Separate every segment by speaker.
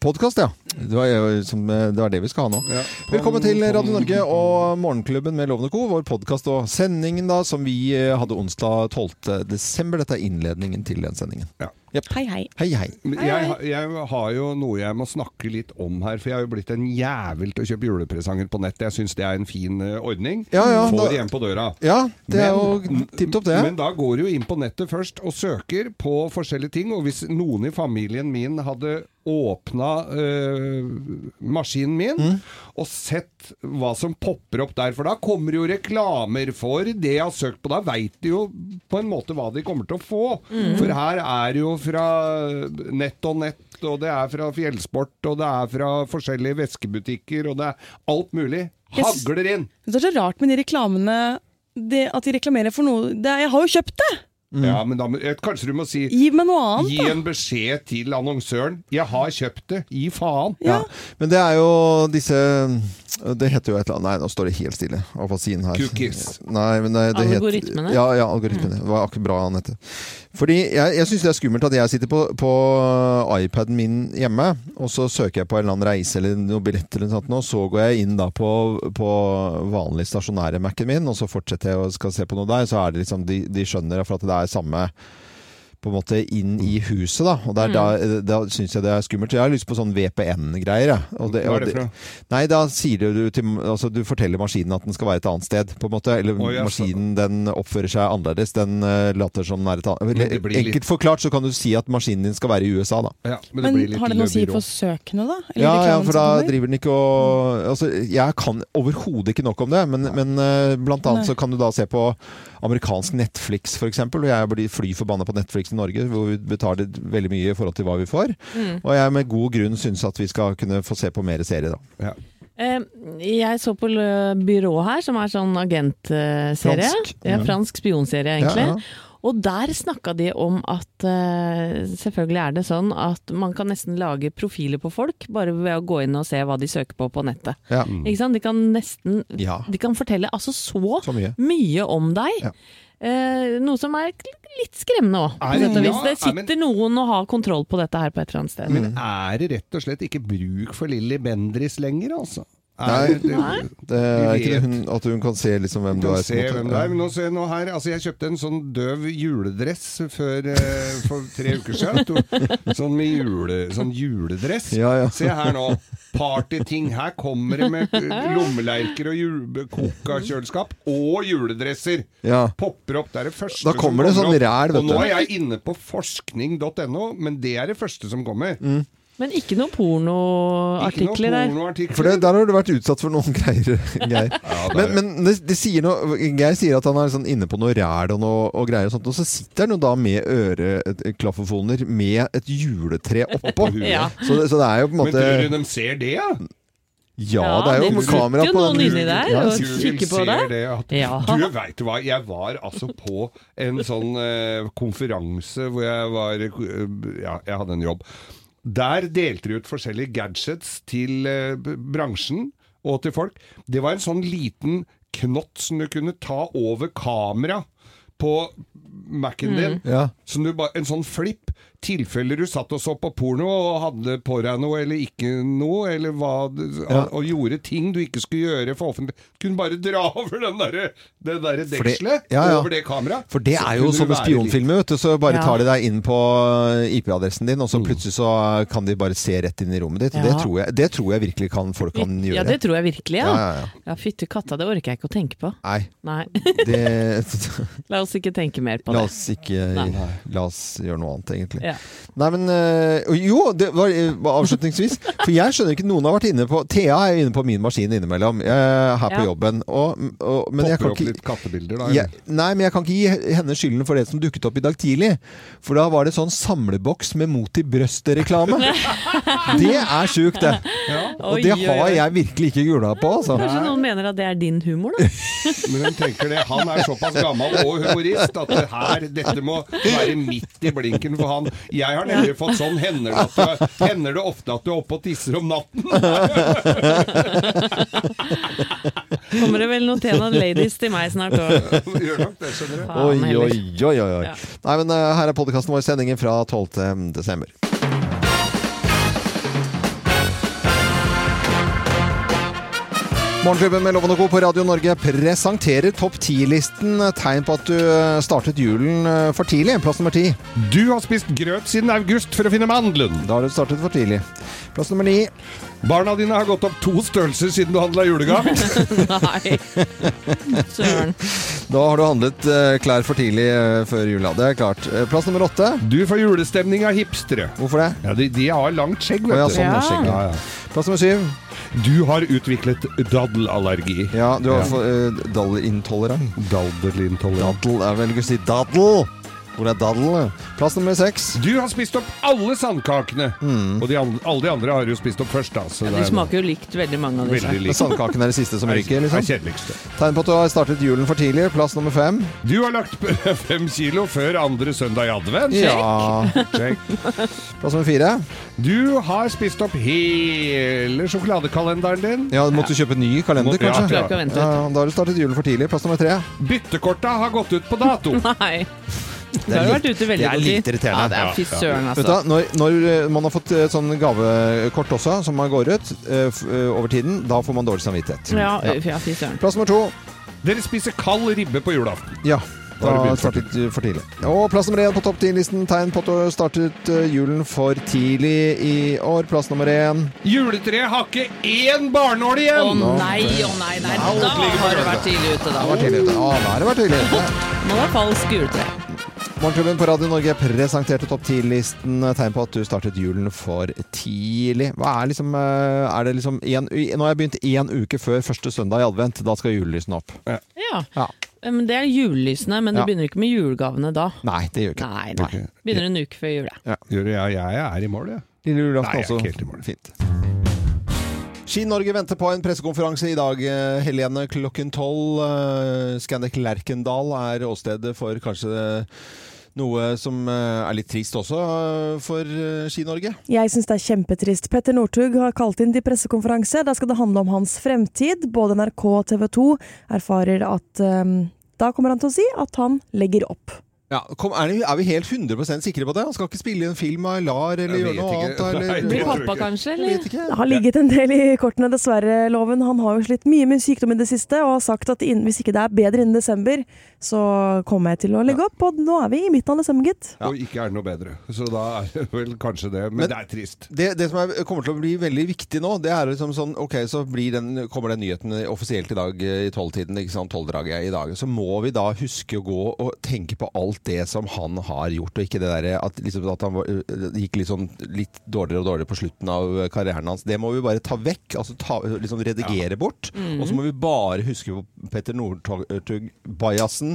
Speaker 1: Podkast, ja. Det var, jo som, det var det vi skal ha nå. Velkommen til Radio Norge og Morgenklubben med Lovende Co. Vår podkast og sendingen da, som vi eh, hadde onsdag 12. desember. Dette er innledningen til den sendingen.
Speaker 2: Ja.
Speaker 1: Jepp.
Speaker 3: Hei, hei.
Speaker 1: Hei, hei.
Speaker 2: Jeg, ha- jeg har jo noe jeg må snakke litt om her, for jeg har jo blitt en jævel til å kjøpe julepresanger på nett. Jeg syns det er en fin eh, ordning.
Speaker 1: Ja, ja, da-
Speaker 2: Får det hjem på døra.
Speaker 1: Ja, det er jo
Speaker 2: Men-
Speaker 1: tipp topp, det.
Speaker 2: Men da går du jo inn på nettet først og søker på forskjellige ting. Og hvis noen i familien min hadde åpna øh, maskinen min
Speaker 1: Mm.
Speaker 2: og sett hva som popper opp der, for da kommer jo reklamer for det jeg har søkt på. Da veit de jo på en måte hva de kommer til å få. For her er det jo fra nett og nett, og det er fra fjellsport, og det er fra forskjellige veskebutikker, og det er alt mulig.
Speaker 3: Jeg s-
Speaker 2: Hagler inn!
Speaker 3: Det er så rart med de reklamene det, At de reklamerer for noe det, Jeg har jo kjøpt det!
Speaker 1: Mm.
Speaker 2: Ja, men da, må- kanskje du må si
Speaker 3: Gi meg noe annet,
Speaker 2: Gi en beskjed til annonsøren. 'Jeg har kjøpt det, gi faen'.
Speaker 1: Ja. Men det er jo disse Det heter jo et eller annet Nei, nå står det helt stille. Hva siden her?
Speaker 2: Cookies.
Speaker 1: Nei, men det, det
Speaker 4: Algoritmene?
Speaker 1: Het, ja, ja, algoritmene. Det var akkurat bra, Anette. Fordi jeg, jeg syns det er skummelt at jeg sitter på, på iPaden min hjemme, og så søker jeg på en eller annen reise eller noen billetter eller noe sånt, nå, og så går jeg inn da på, på vanlig stasjonære Mac-en min, og så fortsetter jeg og skal se på noe der, så er det liksom De, de skjønner for at det er samme på en måte inn i
Speaker 2: Mm.
Speaker 1: huset, da. Og der, da, da syns jeg det er skummelt. Så Jeg har lyst på sånn VPN-greier. jeg. Og
Speaker 2: Hva er det for noe?
Speaker 1: Nei, da sier du til Altså, du forteller maskinen at den skal være et annet sted, på en måte. Eller
Speaker 2: Å, ja, så-
Speaker 1: maskinen, den oppfører seg annerledes. Den eh, later som den er et annet
Speaker 2: Men
Speaker 1: eller,
Speaker 2: det blir litt-
Speaker 1: Enkelt forklart så kan du si at maskinen din skal være i USA, da.
Speaker 2: Ja, men det
Speaker 3: Men
Speaker 2: blir litt
Speaker 3: har det noe å si
Speaker 2: løbyrå.
Speaker 3: for søkene, da? Eller
Speaker 1: Ja, ja,
Speaker 3: reklamen
Speaker 1: for
Speaker 3: som
Speaker 1: da
Speaker 3: kommer? Mm.
Speaker 1: driver den ikke og Altså, jeg kan overhodet ikke nok om det, men, men eh, blant annet
Speaker 3: Nei.
Speaker 1: så kan du da se på amerikansk Netflix, for eksempel. Og jeg blir fly forbanna på Netflix i Norge, hvor vi betaler veldig mye i forhold til hva vi får.
Speaker 3: Mm.
Speaker 1: Og jeg med god grunn syns at vi skal kunne få se på mer serier, da.
Speaker 2: Ja.
Speaker 4: Eh, Jeg så på Lø- Byrå her, som er sånn agentserie.
Speaker 1: Fransk.
Speaker 4: Ja,
Speaker 1: Ja.
Speaker 4: fransk spionserie, egentlig.
Speaker 1: Ja, ja.
Speaker 4: Og der snakka de om at eh, selvfølgelig er det sånn at man kan nesten lage profiler på folk bare ved å gå inn og se hva de søker på på nettet.
Speaker 1: Ja.
Speaker 3: Mm.
Speaker 2: Mm.
Speaker 4: Ikke sant? De kan nesten
Speaker 1: Ja.
Speaker 4: De kan fortelle altså så,
Speaker 1: Så mye.
Speaker 4: om deg.
Speaker 1: Ja.
Speaker 4: Eh, noe som er litt skremmende òg, på
Speaker 2: Er det-
Speaker 4: sett og vis.
Speaker 2: ja,
Speaker 4: Det
Speaker 2: er- men-
Speaker 4: sitter noen og har kontroll på dette her på et eller annet sted.
Speaker 2: Men er det rett og slett ikke bruk for Lilly Bendris lenger, altså?
Speaker 1: Nei.
Speaker 2: Er det,
Speaker 1: Det er ikke
Speaker 2: vet.
Speaker 1: det hun, at hun kan se liksom hvem du
Speaker 2: Du kan
Speaker 1: er. på
Speaker 2: se
Speaker 1: en måte.
Speaker 2: hvem det er. Men nå ser jeg nå her, altså jeg kjøpte en sånn døv juledress før, eh, for tre uker siden. To- Sånn med jule, sånn juledress.
Speaker 1: Ja, ja.
Speaker 2: Se her nå. Partyting. Her kommer det med lommelerker og jule- Coca-kjøleskap og juledresser.
Speaker 1: Ja.
Speaker 2: Popper opp. Det er det første
Speaker 1: Da kommer det
Speaker 2: som
Speaker 1: sånn
Speaker 2: opp.
Speaker 1: ræl, vet
Speaker 2: Og nå
Speaker 1: du.
Speaker 2: er jeg inne på forskning.no, men det er det første som kommer.
Speaker 1: Mm.
Speaker 4: Men ikke noen
Speaker 2: Ikke noe
Speaker 4: pornoartikler der.
Speaker 2: pornoartikler.
Speaker 1: For det, der har du vært utsatt for noen greier. greier.
Speaker 2: det er-
Speaker 1: men men det, det sier noe, Geir sier at han er sånn inne på noe ræl og, noe, og greier, og sånt, og så sitter han jo da med øreklaffofoner med et juletre oppå.
Speaker 2: huet.
Speaker 4: Ja.
Speaker 1: Så, det, så det er jo på en
Speaker 2: Men
Speaker 1: måte
Speaker 2: tror du de ser det, ja?
Speaker 1: Ja, det er
Speaker 4: Ja,
Speaker 1: jo
Speaker 4: det
Speaker 1: kamera
Speaker 4: sitter
Speaker 1: på
Speaker 4: jo
Speaker 1: den.
Speaker 4: noen inni der,
Speaker 1: Ja,
Speaker 4: og-
Speaker 1: det sitter-
Speaker 2: Google
Speaker 4: kikke på
Speaker 2: ser
Speaker 4: deg?
Speaker 2: det, at,
Speaker 4: Ja.
Speaker 2: Du veit du hva, jeg var altså på en sånn eh, konferanse hvor jeg var eh, Ja, jeg hadde en jobb. Der delte de ut forskjellige gadgets til eh, b- bransjen og til folk. Det var en sånn liten knott som du kunne ta over kamera på
Speaker 4: Mm.
Speaker 2: Mac-en din.
Speaker 1: Ja.
Speaker 2: Som du ba, en sånn flipp. Tilfeller du satt og så på porno og hadde på deg noe eller ikke noe, eller hva, du-
Speaker 1: Ja.
Speaker 2: og, og gjorde ting du ikke skulle gjøre for offentlig Du kunne bare dra over den derre det derre
Speaker 1: For det-
Speaker 2: dekselet,
Speaker 1: ja, ja.
Speaker 2: over det kameraet.
Speaker 1: For det
Speaker 2: så
Speaker 1: er jo
Speaker 2: kunne du
Speaker 1: sånne
Speaker 2: være
Speaker 1: spionfilmer, vet du. Så bare
Speaker 4: Ja.
Speaker 1: tar de deg inn på eh, IP-adressen din, og
Speaker 2: Mm.
Speaker 1: så plutselig så eh, kan de bare se rett inn i rommet ditt. Og Det,
Speaker 4: Ja.
Speaker 1: tror jeg, det tror jeg virkelig kan, folk kan gjøre.
Speaker 4: Ja, det tror jeg virkelig. Ja,
Speaker 1: Ja,
Speaker 4: ja,
Speaker 1: ja, ja.
Speaker 4: fytti katta, det orker jeg ikke å tenke på.
Speaker 1: Nei,
Speaker 4: Nei,
Speaker 1: det
Speaker 4: la oss ikke tenke mer på
Speaker 1: La
Speaker 4: det.
Speaker 1: oss ikke
Speaker 4: Nei.
Speaker 1: La oss gjøre noe annet, egentlig.
Speaker 4: Ja.
Speaker 1: Nei, men øh, Jo, det var øh, avslutningsvis. For jeg skjønner ikke Noen har vært inne på Thea er inne på min maskin innimellom, øh, her på
Speaker 4: Ja.
Speaker 1: jobben. Og, og, men jeg
Speaker 2: Popper
Speaker 1: kan
Speaker 2: opp
Speaker 1: ikke
Speaker 2: litt kattebilder, da.
Speaker 1: jeg,
Speaker 2: eller?
Speaker 1: nei, men jeg kan ikke gi henne skylden for det som dukket opp i dag tidlig. For da var det sånn samleboks med Mot i brøstet-reklame. Det er sjukt, det. Og
Speaker 4: Oi,
Speaker 1: det
Speaker 4: oi,
Speaker 1: har
Speaker 4: oi.
Speaker 1: jeg virkelig ikke jula på, altså.
Speaker 4: Kanskje noen mener at det er din humor, da?
Speaker 2: Men hun tenker det. Han er såpass gammel og humorist at det her, dette må være midt i blinken for han. Jeg har nemlig fått sånn hender det, at du, hender det ofte at du er oppe og tisser om natten.
Speaker 4: Kommer det vel noen Tena Ladies til meg snart òg?
Speaker 2: Gjør nok det, skjønner du.
Speaker 1: Oi, oi, oi, oi. oi.
Speaker 4: Ja.
Speaker 1: mm, Nei, men eh, her er podkasten vår, sendingen fra 12. desember. Morgenklubben med Loven og Co. på Radio Norge presenterer topp ti-listen. Tegn på at du eh, startet julen eh, for tidlig. Plass nummer ti.
Speaker 2: Du har spist grøt siden august for å finne mandelen.
Speaker 1: Da har du startet for tidlig. Plass nummer ni.
Speaker 2: Barna dine har gått opp to størrelser siden du handla julegave.
Speaker 4: Nei. Søren.
Speaker 1: Da har du handlet eh, klær for tidlig eh, før jula. Det er klart. Eh, Plass nummer åtte.
Speaker 2: Du får julestemning av hipstere.
Speaker 1: Hvorfor det?
Speaker 2: Ja, de, de har langt skjegg,
Speaker 1: Å ja,
Speaker 2: vet du.
Speaker 1: sånn er
Speaker 4: Ja.
Speaker 1: skjegget.
Speaker 2: Ja, ja.
Speaker 1: Plass nummer syv.
Speaker 2: Du har utviklet daddelallergi.
Speaker 1: Ja, du
Speaker 2: Ja.
Speaker 1: har ja. dallintolerant.
Speaker 2: Daddelintolerant.
Speaker 1: Daddel er vel ikke å si daddel. Hvor er daddel? Plass nummer seks.
Speaker 2: Du har spist opp alle sandkakene.
Speaker 1: Mm.
Speaker 2: Og de, an- alle de andre har jo spist opp først, da. Så
Speaker 4: Ja, de smaker jo likt, veldig mange av disse.
Speaker 2: veldig
Speaker 1: Men
Speaker 2: like.
Speaker 1: Sandkaken er det siste som ryker,
Speaker 2: Det er
Speaker 1: liksom.
Speaker 2: kjedeligste.
Speaker 1: Tegn på at du har startet julen for tidlig. Plass nummer fem.
Speaker 2: Du har lagt på fem kilo før andre søndag i advent.
Speaker 1: Ja.
Speaker 2: Sjekk.
Speaker 1: Plass nummer fire.
Speaker 2: Du har spist opp hele sjokoladekalenderen din.
Speaker 1: Ja, du måtte kjøpe ny kalender,
Speaker 2: Må- ja,
Speaker 1: kanskje.
Speaker 4: Klarer ikke å vente
Speaker 1: Ja,
Speaker 4: ut.
Speaker 1: da har du startet julen for tidlig. Plass nummer tre.
Speaker 2: Byttekorta har gått ut på dato.
Speaker 4: Nei. Det har jo vært ute veldig
Speaker 1: det er
Speaker 4: god tid.
Speaker 1: litt irriterende.
Speaker 4: Ja, det er fy
Speaker 2: Ja, ja.
Speaker 4: søren,
Speaker 1: Vet du,
Speaker 4: altså.
Speaker 1: hva, når, når eh, man har fått eh, sånn gavekort også, som man går ut eh, f- eh, over tiden, da får man dårlig samvittighet.
Speaker 4: Ja, uff, ja, fy søren.
Speaker 1: Plass nummer to.
Speaker 2: Dere spiser kald ribbe på julaften.
Speaker 1: Ja.
Speaker 2: Da har
Speaker 1: Da
Speaker 2: du begynt for
Speaker 1: startet du for tidlig. Og plass nummer én på topp ti-listen. Tegn på at du startet eh, julen for tidlig i år. Plass nummer én.
Speaker 2: Juletreet har ikke én barnål
Speaker 4: Å
Speaker 2: igjen!
Speaker 4: nei, å nei, nei. Da har du vært tidlig ute, da.
Speaker 1: Det var tidlig ute. Ja, da har det vært tidlig ute.
Speaker 4: Må være falsk juletre.
Speaker 1: Morgenklubben på Radio Norge presenterte topp 10-listen. Tegn på at du startet julen for tidlig. Hva er liksom eh, Er det liksom en, u- Nå har jeg begynt én uke før første søndag i advent. Da skal julelysene opp.
Speaker 4: Ja. Eh,
Speaker 1: Ja.
Speaker 4: Men det er julelysene, men du
Speaker 1: Ja.
Speaker 4: begynner ikke med julegavene da.
Speaker 1: Nei, det gjør ikke det.
Speaker 4: Nei, nei. Begynner en uke før jul. ja.
Speaker 2: Gjør det, ja, jeg er i mål, jeg.
Speaker 1: Lille
Speaker 2: Nei, jeg er
Speaker 1: julaften
Speaker 2: ikke helt i mål.
Speaker 1: også. Fint. Ski-Norge venter på en pressekonferanse i dag, eh, Helene, klokken tolv. Eh, Scandic Lerkendal er åstedet for kanskje eh, noe som eh, er litt trist også eh, for eh, Ski-Norge.
Speaker 5: Jeg syns det er kjempetrist. Petter Northug har kalt inn til pressekonferanse. Der skal det handle om hans fremtid. Både NRK og TV 2 erfarer at eh, Da kommer han til å si at han legger opp.
Speaker 1: Ja, kom, er, det- er vi helt 100 sikre på det? Han skal ikke spille i en film av LAR eller
Speaker 2: Jeg
Speaker 1: gjøre
Speaker 2: vet
Speaker 1: noe
Speaker 2: ikke.
Speaker 1: annet? da, Eller,
Speaker 2: Nei, det tror
Speaker 4: Blir
Speaker 2: jeg
Speaker 4: pappa
Speaker 2: ikke.
Speaker 4: kanskje,
Speaker 1: Jeg vet
Speaker 4: eller?
Speaker 1: ikke.
Speaker 5: Det har ligget en del i kortene, dessverre, Loven. Han har jo slitt mye med sykdom i det siste og har sagt at innen, hvis ikke det er bedre innen desember, så kommer jeg til å legge opp. Og nå er vi i midten av desember, gitt.
Speaker 2: Og ikke er det noe bedre. Så da er det vel kanskje det. Men,
Speaker 1: Men-
Speaker 2: det er trist.
Speaker 1: Det, det som er, kommer til å bli veldig viktig nå, det er liksom sånn Ok, så blir den, kommer den nyheten offisielt i dag eh, i tolvtiden, ikke sant, tolvdraget i dag. Så må vi da huske å gå og tenke på alt det som han har gjort, og ikke det derre at, liksom, at han var- eh, gikk litt sånn litt dårligere og dårligere på slutten av eh, karrieren hans. Det må vi bare ta vekk, altså ta, liksom redigere bort. Og så må vi bare huske på Petter Northug-bajasen,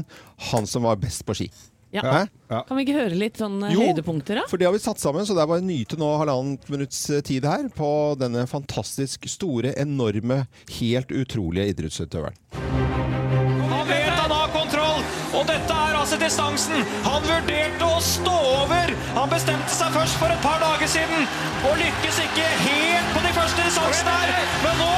Speaker 1: han som var best på ski.
Speaker 4: Ja.
Speaker 1: Hæ?
Speaker 2: Ja.
Speaker 4: Kan vi ikke høre litt sånn eh,
Speaker 1: Jo.
Speaker 4: høydepunkter, da?
Speaker 1: For det har vi satt sammen, så det er bare å nyte nå halvannet minutts eh, tid her på denne fantastisk store, enorme, helt utrolige idrettsutøveren.
Speaker 6: Han vet han har kontroll, og dette er altså distansen. Han vurderte å stå over. Han bestemte seg først for et par dager siden, og lykkes ikke helt på de første distansene her. Men nå,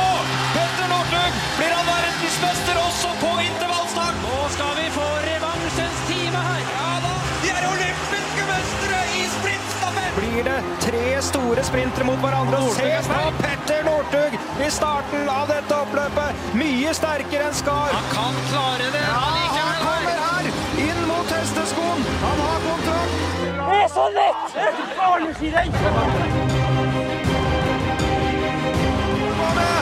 Speaker 6: Petter Northug, blir han verdensmester også på intervallstart. Nå skal vi få revansjens time her. Ja da, de er olympiske mestere i sprintstafett. Blir det tre store sprintere mot hverandre? og Se på Petter Northug i starten av dette oppløpet. Mye sterkere enn Skar. Han kan klare det. Ja, han kommer her, inn mot hesteskoen. Han har kontroll.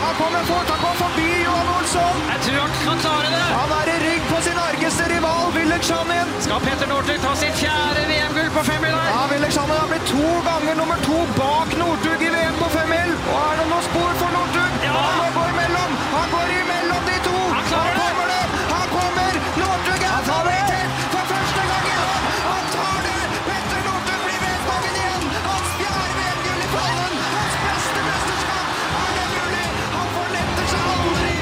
Speaker 6: Han kommer fort, han kommer forbi Johan Olsson. Jeg tror han kan klare det. Han er i rygg på sin argeste rival, Willeksanen. Skal Petter Northug ta sitt fjerde VM-gull på femmil her? Ja, Willeksanen har blitt to ganger nummer to bak Northug i VM på femmil. Og er det noe spor for Northug? Ja. Han går imellom. Han går imellom de to. Han klarer det. kommer det. Han kommer. Northug er favoritt for første gang i år. Han tar det. Petter Northug blir VM-kongen igjen. Hans fjerde VM-gull i fallen. Hans beste mesterskap. Er det mulig? Han forletter seg aldri.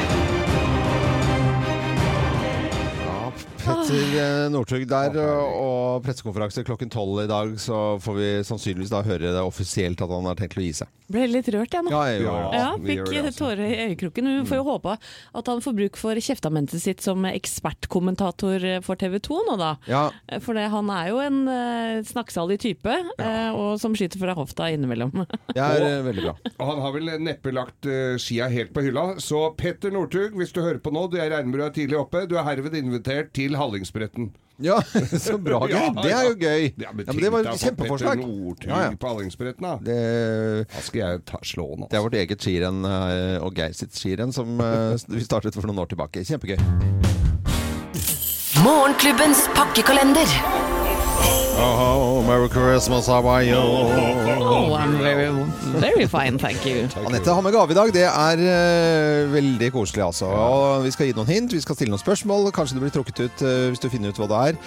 Speaker 1: Ja, Petter eh, Northug der, og og pressekonferanse klokken tolv i dag, så får vi sannsynligvis da høre det offisielt at han har tenkt å gi seg.
Speaker 4: Ble litt rørt, jeg nå.
Speaker 1: Ja, jeg gjør det.
Speaker 4: Ja,
Speaker 2: vi
Speaker 4: fikk
Speaker 2: gjør det, altså. Mm.
Speaker 4: tårer i øyekroken. Vi får jo håpe at han får bruk for kjeftamentet sitt som ekspertkommentator for TV 2 nå, da. Eh,
Speaker 1: Ja,
Speaker 4: For det, han er jo en eh, snakksalig type, eh, og som skyter fra hofta innimellom.
Speaker 1: det er eh, veldig bra.
Speaker 2: Og han har vel neppe lagt eh, skia helt på hylla. Så Petter Northug, hvis du hører på nå, du jeg regner med du er tidlig oppe, du er herved invitert til Hallingsbretten.
Speaker 1: Ja, så bra,
Speaker 2: Ja,
Speaker 1: Geir. Det er jo gøy.
Speaker 2: Ja,
Speaker 1: Ja,
Speaker 2: men,
Speaker 1: men det var et
Speaker 2: kjempeforslag.
Speaker 1: kjempeforslag.
Speaker 2: Petter Northug
Speaker 1: Ja, ja.
Speaker 2: på Hallingsbretten, da.
Speaker 1: Det,
Speaker 2: Da skal jeg ta, slå han,
Speaker 1: det er
Speaker 2: altså.
Speaker 1: vårt eget skirenn eh, og Geir sitt skirenn som eh, vi startet for noen år tilbake. Kjempegøy.
Speaker 7: Morgenklubbens pakkekalender.
Speaker 1: Oh, Merry Christmas, how are you?
Speaker 4: Oh, I'm very, very fine, thank you.
Speaker 1: Anette har med gave i dag. Det er eh, veldig koselig, altså. Og vi skal gi noen hint, vi skal stille noen spørsmål. Kanskje du blir trukket ut eh, hvis du finner ut hva det er.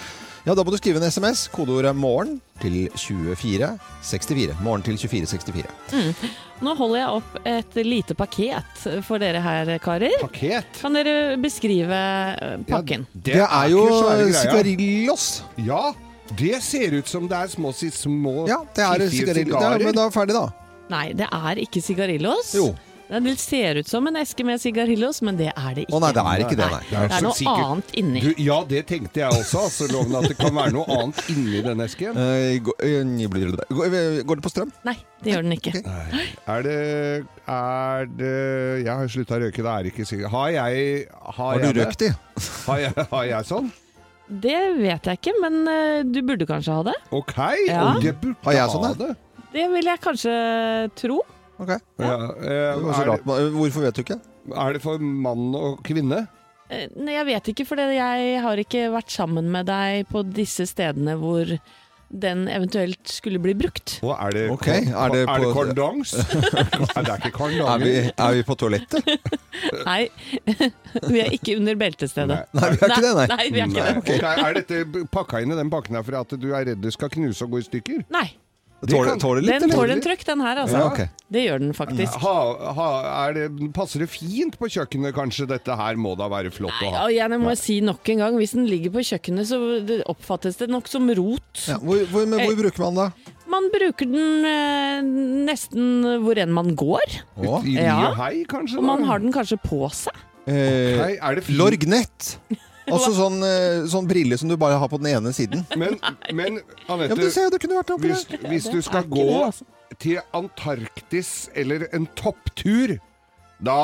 Speaker 1: Ja, Da må du skrive en SMS. Kodeordet 'morgen' til 2464. Morgen til 2464.
Speaker 4: Nå holder jeg opp et lite paket for dere her, karer.
Speaker 2: Pakket?
Speaker 4: Kan dere beskrive eh, pakken?
Speaker 1: Det, er jo
Speaker 2: ikke svære greier.
Speaker 1: sigarillos.
Speaker 2: Ja, det ser ut som det er små, si- små
Speaker 1: Ja, det er
Speaker 2: fiffige
Speaker 1: sigarillos. Ja,
Speaker 2: sigarer.
Speaker 1: men da er vi ferdig, da.
Speaker 4: Nei, det er ikke sigarillos.
Speaker 1: Jo.
Speaker 4: Det ser ut som en eske med sigarillos, men det er det ikke.
Speaker 1: Å nei, det er ikke det, nei.
Speaker 4: Det er
Speaker 2: så
Speaker 4: noe
Speaker 2: sikkert-
Speaker 4: annet inni.
Speaker 2: Du, ja, det tenkte jeg også, altså, Loven. At det kan være noe annet inni den esken.
Speaker 1: Eh, gå- eh, blir det- Går eh, går det på strøm?
Speaker 4: Nei, det gjør den ikke.
Speaker 2: Er det Er det Jeg har slutta å røyke, det er ikke sikkert. Har jeg Har,
Speaker 1: Har
Speaker 2: jeg
Speaker 1: du
Speaker 2: det?
Speaker 1: røkt i?
Speaker 2: Har jeg, har jeg sånn?
Speaker 4: Det vet jeg ikke, men eh, du burde kanskje ha det.
Speaker 2: Ok,
Speaker 4: Ja.
Speaker 2: og det burde
Speaker 1: Har jeg sånn,
Speaker 2: ha
Speaker 1: da?
Speaker 2: det.
Speaker 4: Det vil jeg kanskje tro.
Speaker 1: Ok.
Speaker 2: Ja, eh,
Speaker 1: Det var så
Speaker 2: er,
Speaker 1: rart. man- Hvorfor vet du ikke?
Speaker 2: det, er det for mann og kvinne?
Speaker 4: Eh, Nei, jeg vet ikke, for det- jeg har ikke vært sammen med deg på disse stedene hvor den eventuelt skulle bli brukt.
Speaker 2: Og er det,
Speaker 1: Ok,
Speaker 2: kon-
Speaker 1: er det
Speaker 2: er det
Speaker 1: på-
Speaker 2: kordongs? Nei, det er ikke
Speaker 1: Er
Speaker 2: kordongs.
Speaker 1: vi, er vi på toalettet?
Speaker 4: Nei, vi er ikke under beltestedet.
Speaker 1: Eh. Nei, vi er ikke det, nei.
Speaker 4: Nei, vi er ikke det.
Speaker 2: Ok, Er dette b- pakka inn i den pakken her for at du er redd det skal knuse og gå i stykker?
Speaker 4: Nei,
Speaker 1: Tåler
Speaker 2: kan-
Speaker 1: tåler litt,
Speaker 4: den
Speaker 1: eller?
Speaker 4: tåler en trøkk, den her, altså.
Speaker 1: Ja, ok.
Speaker 4: Det gjør den faktisk.
Speaker 2: Ha, ha, er det, passer det fint på kjøkkenet, kanskje? Dette her må da være flott å ha.
Speaker 4: Og igjen, jeg må si nok en gang, hvis den ligger på kjøkkenet, så det oppfattes det nok som rot.
Speaker 1: Ja, hvor, hvor, men hvor
Speaker 4: Eh,
Speaker 1: bruker man det?
Speaker 4: Man bruker den eh, nesten hvor enn man går,
Speaker 1: Å,
Speaker 2: I ny
Speaker 4: Ja.
Speaker 2: og hei, kanskje?
Speaker 4: og man
Speaker 2: da?
Speaker 4: har den kanskje på seg.
Speaker 1: eh,
Speaker 2: Hei, er det fint?
Speaker 1: Lorgnett. Altså sånn, eh, sånn brille som du bare har på den ene siden.
Speaker 2: Men, men
Speaker 1: Ja, men du
Speaker 2: Anette,
Speaker 1: ser, jo, det kunne vært oppi
Speaker 2: hvis,
Speaker 1: der.
Speaker 2: hvis du skal
Speaker 4: ikke det,
Speaker 2: gå
Speaker 4: altså.
Speaker 2: til Antarktis eller en topptur, da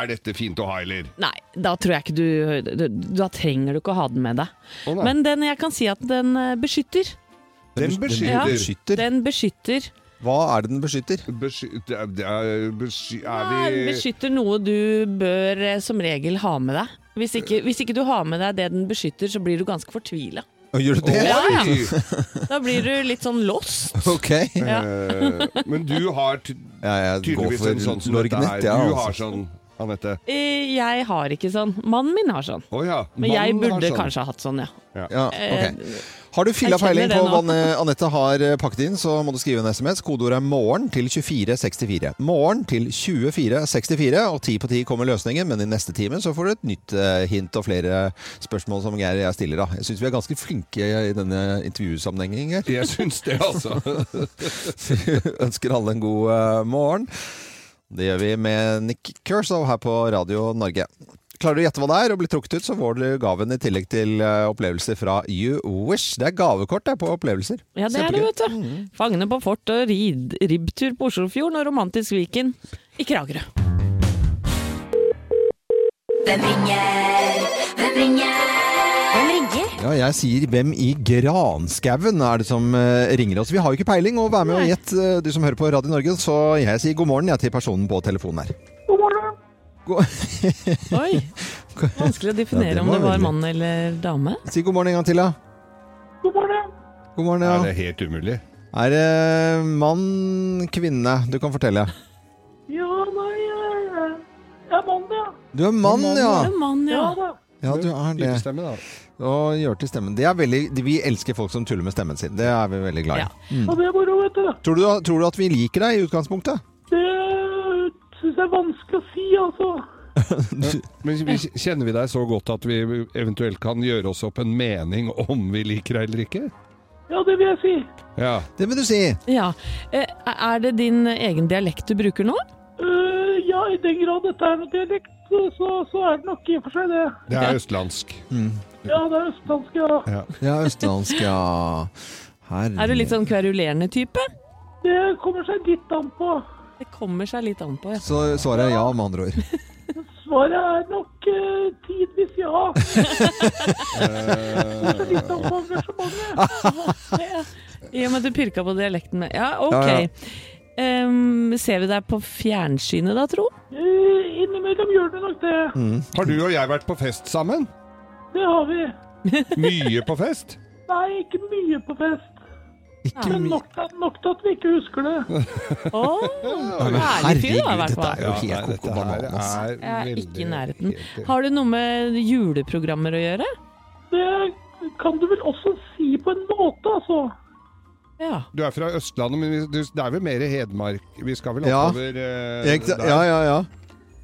Speaker 2: er dette fint å ha, eller?
Speaker 4: Nei, da tror jeg ikke du, du Da trenger du ikke å ha den med deg.
Speaker 2: Å, nei.
Speaker 4: Men den, jeg kan si at den eh, beskytter.
Speaker 2: Den
Speaker 1: Den
Speaker 2: beskytter.
Speaker 1: beskytter.
Speaker 4: Den beskytter.
Speaker 1: Hva er det den beskytter?
Speaker 2: Besky, det er- det er, besky,
Speaker 4: Nei,
Speaker 2: er
Speaker 4: den
Speaker 2: vi
Speaker 4: beskytter noe du bør eh, som regel ha med deg. Hvis ikke, hvis ikke du har med deg det den beskytter, så blir du ganske fortvila.
Speaker 1: Å, Gjør du det?
Speaker 4: Ja, ja.
Speaker 2: Oi!
Speaker 4: Da blir du litt sånn lost.
Speaker 1: Ok. Ja,
Speaker 4: Ja.
Speaker 2: Eh, Men du har ty-
Speaker 1: jeg går
Speaker 2: tydeligvis en
Speaker 1: for
Speaker 2: sånn som dette her.
Speaker 1: Lorgnett, ja.
Speaker 2: Du har
Speaker 1: altså.
Speaker 2: sånn, Anette.
Speaker 4: Eh, Jeg har ikke sånn. Mannen min har sånn.
Speaker 2: Å ja.
Speaker 4: Men jeg
Speaker 2: mannen har
Speaker 4: burde
Speaker 2: sånn.
Speaker 4: kanskje ha hatt sånn, ja.
Speaker 1: Ja,
Speaker 4: Eh,
Speaker 1: ok. Har du filla
Speaker 4: jeg kjenner
Speaker 1: peiling
Speaker 4: det
Speaker 1: på hva
Speaker 4: nå.
Speaker 1: eh, Anette har eh, pakket inn, så må du skrive en SMS. Kodeordet er 'morgen' til 2464. Morgen til 2464, og ti på ti kommer løsningen, men i neste time så får du et nytt eh, hint og flere spørsmål som Geir og jeg stiller. Da. Jeg syns vi er ganske flinke i denne intervjusammenhengen, Geir.
Speaker 2: Jeg syns det, altså.
Speaker 1: Ønsker alle en god eh, morgen. Det gjør vi med Nick Kershaw her på Radio Norge. Klarer du å gjette hva det er og bli trukket ut, så får du gaven i tillegg til eh, opplevelser fra You Wish. Det er gavekort det, på opplevelser.
Speaker 4: Ja, det er det,
Speaker 1: Kjempegøy.
Speaker 4: vet du.
Speaker 1: Mm.
Speaker 4: Fangene på fort og rid, ribbtur på Oslofjorden og romantisk Viken i Kragerø.
Speaker 7: Hvem ringer? Hvem ringer? Hvem ringer?
Speaker 1: Ja, jeg sier hvem i granskauen er det som eh, ringer oss. Vi har jo ikke peiling, og vær med og gjett, eh, du som hører på Radio Norge. Så jeg sier god morgen jeg, til personen på telefonen her. God morgen.
Speaker 4: Oi! Vanskelig å definere
Speaker 1: Ja, det
Speaker 4: om det
Speaker 1: var
Speaker 4: var
Speaker 1: veldig-
Speaker 4: mann eller dame.
Speaker 1: si god morgen en gang til, da. God morgen.
Speaker 2: Er
Speaker 1: God
Speaker 2: det
Speaker 1: morgen,
Speaker 2: helt umulig?
Speaker 1: ja. Er det mann, kvinne? Du kan fortelle.
Speaker 8: Ja, nei eh, Jeg er mann, ja.
Speaker 1: Du er mann, ja.
Speaker 4: Det er mann, ja.
Speaker 8: Ja da.
Speaker 1: Ja, du er det.
Speaker 2: Likestemme, da.
Speaker 1: Og gjør til stemmen. Det er veldig, vi elsker folk som tuller med stemmen sin. Det er vi veldig glad i. Mm.
Speaker 4: Ja.
Speaker 8: Og det er moro, vet du.
Speaker 1: Tror, du, tror du at vi liker deg i utgangspunktet?
Speaker 8: Det syns jeg er vanskelig å si, altså.
Speaker 2: Men vi- kjenner vi deg så godt at vi eventuelt kan gjøre oss opp en mening om vi liker deg eller ikke?
Speaker 8: Ja, det vil jeg si.
Speaker 2: Ja.
Speaker 1: Det må du si!
Speaker 4: Ja. Eh, Er det din egen dialekt du bruker nå?
Speaker 8: Eh, ja, i den grad dette er noe dialekt, så, så er det nok i og for seg det.
Speaker 2: Det er østlandsk.
Speaker 8: Ja, det er østlandsk, ja.
Speaker 2: Ja.
Speaker 1: Ja, østlandsk, ja. Herre.
Speaker 4: Er du litt sånn kverulerende type?
Speaker 8: Det kommer seg litt an på.
Speaker 4: Det kommer seg litt an på, ja.
Speaker 1: Så svaret er ja, med andre ord.
Speaker 8: Svaret er nok eh, tidvis ja. Det kommer litt an på engasjementet.
Speaker 4: I og med at du pirka på dialekten med Ja, ok.
Speaker 1: Ja, ja.
Speaker 4: Em, ser vi deg på fjernsynet da, tro?
Speaker 8: Eh, innimellom gjør det nok det.
Speaker 2: Har du og jeg vært på fest sammen?
Speaker 8: Det har vi.
Speaker 2: Mye på fest?
Speaker 8: Nei, ikke mye på fest.
Speaker 1: Ikke
Speaker 8: Men
Speaker 1: mye
Speaker 8: nok, nok til at vi ikke husker det.
Speaker 4: Å! Herlig fyr, da, i
Speaker 1: dette
Speaker 4: hvert fall.
Speaker 1: er jo helt koko banan. ass.
Speaker 4: Jeg er ikke i nærheten.
Speaker 2: helt-
Speaker 4: Har det noe med juleprogrammer å gjøre?
Speaker 8: Det kan du vel også si på en måte, altså.
Speaker 4: Ja.
Speaker 2: Du er fra Østlandet, men vi- det er vel mer Hedmark? Vi skal vel
Speaker 1: Ja.
Speaker 2: oppover eh,
Speaker 1: Jeg-
Speaker 2: der?
Speaker 1: Ja, ja, ja.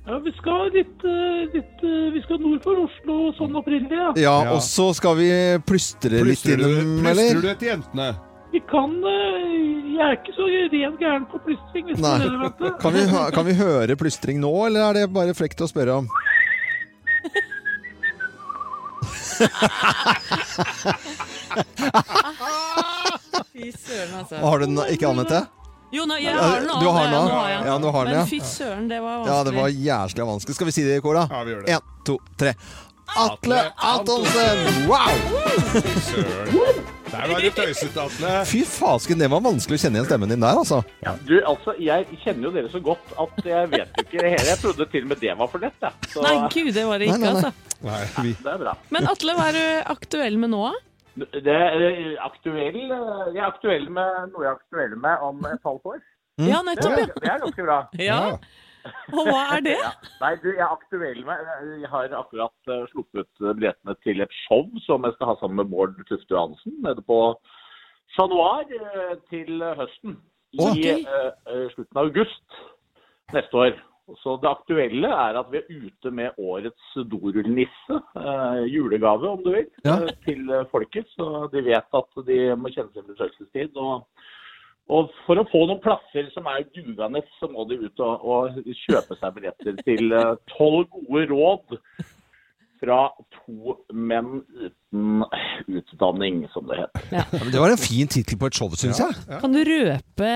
Speaker 8: Ja, vi skal litt, eh, litt eh, Vi skal nord for Oslo sånn opprinnelig, ja.
Speaker 1: Ja,
Speaker 2: Ja.
Speaker 1: og så skal vi plystre litt
Speaker 2: Plystrer du,
Speaker 1: innom,
Speaker 2: plystrer du
Speaker 1: eller?
Speaker 2: etter jentene?
Speaker 8: Vi kan eh, Jeg er ikke så ren gæren på plystring, hvis du
Speaker 1: Nei.
Speaker 8: mener det.
Speaker 1: Kan vi, ha- kan vi høre plystring nå, eller er det bare frekt å spørre om?
Speaker 4: Fy søren, altså.
Speaker 1: Har du den ikke anvendt det?
Speaker 4: Jo, nå, jeg har den nå.
Speaker 1: Du har den
Speaker 4: nå.
Speaker 1: nå?
Speaker 4: har jeg den.
Speaker 1: Ja, nå har den,
Speaker 4: Men
Speaker 1: ja.
Speaker 4: fy søren, det var vanskelig.
Speaker 1: Ja, det var jævlig vanskelig. Skal vi si det i kor, da?
Speaker 2: Ja, vi gjør det.
Speaker 1: En, to, tre. Atle Antonsen! Wow!
Speaker 2: Søren. Der var du tøysete, Atle.
Speaker 1: Fy fasken, det var vanskelig å kjenne igjen stemmen din der, altså.
Speaker 9: Du, altså, Jeg kjenner jo dere så godt at jeg vet jo ikke det hele. Jeg trodde til og med det var for lett. Jeg. Så
Speaker 4: Nei, gud, det var det
Speaker 1: Nei,
Speaker 4: ikke,
Speaker 1: nei, nei.
Speaker 4: altså.
Speaker 2: Nei, vi,
Speaker 9: det er bra.
Speaker 4: Men Atle, hva er du aktuell med nå? da?
Speaker 9: Det er eh, aktuell, eh, jeg er aktuell med noe jeg er aktuell med om et halvt år.
Speaker 1: Mm?
Speaker 4: Ja,
Speaker 9: Det
Speaker 4: nettopp,
Speaker 9: er, det er ganske bra.
Speaker 4: ja. ja. Og hva er det?
Speaker 9: Nei, du, jeg er aktuell med Jeg har akkurat eh, sluppet billettene til et show som jeg skal ha sammen med Bård Tufte Johansen nede på Chat Noir eh, til høsten.
Speaker 1: Å.
Speaker 9: I eh, eh, slutten av august neste år. Så det aktuelle er at vi er ute med årets dorullnisse, eh, julegave om du vil,
Speaker 1: Ja.
Speaker 9: eh, til eh, folket. Så de vet at de må kjenne sin besøkelsestid. og og for å få noen plasser som er dugende, så må de ut og, og kjøpe seg billetter til eh, tolv gode råd fra to menn uten eh, utdanning, som det heter.
Speaker 1: Ja, men Det var en fin tittel på et show, syns jeg.
Speaker 4: Kan du røpe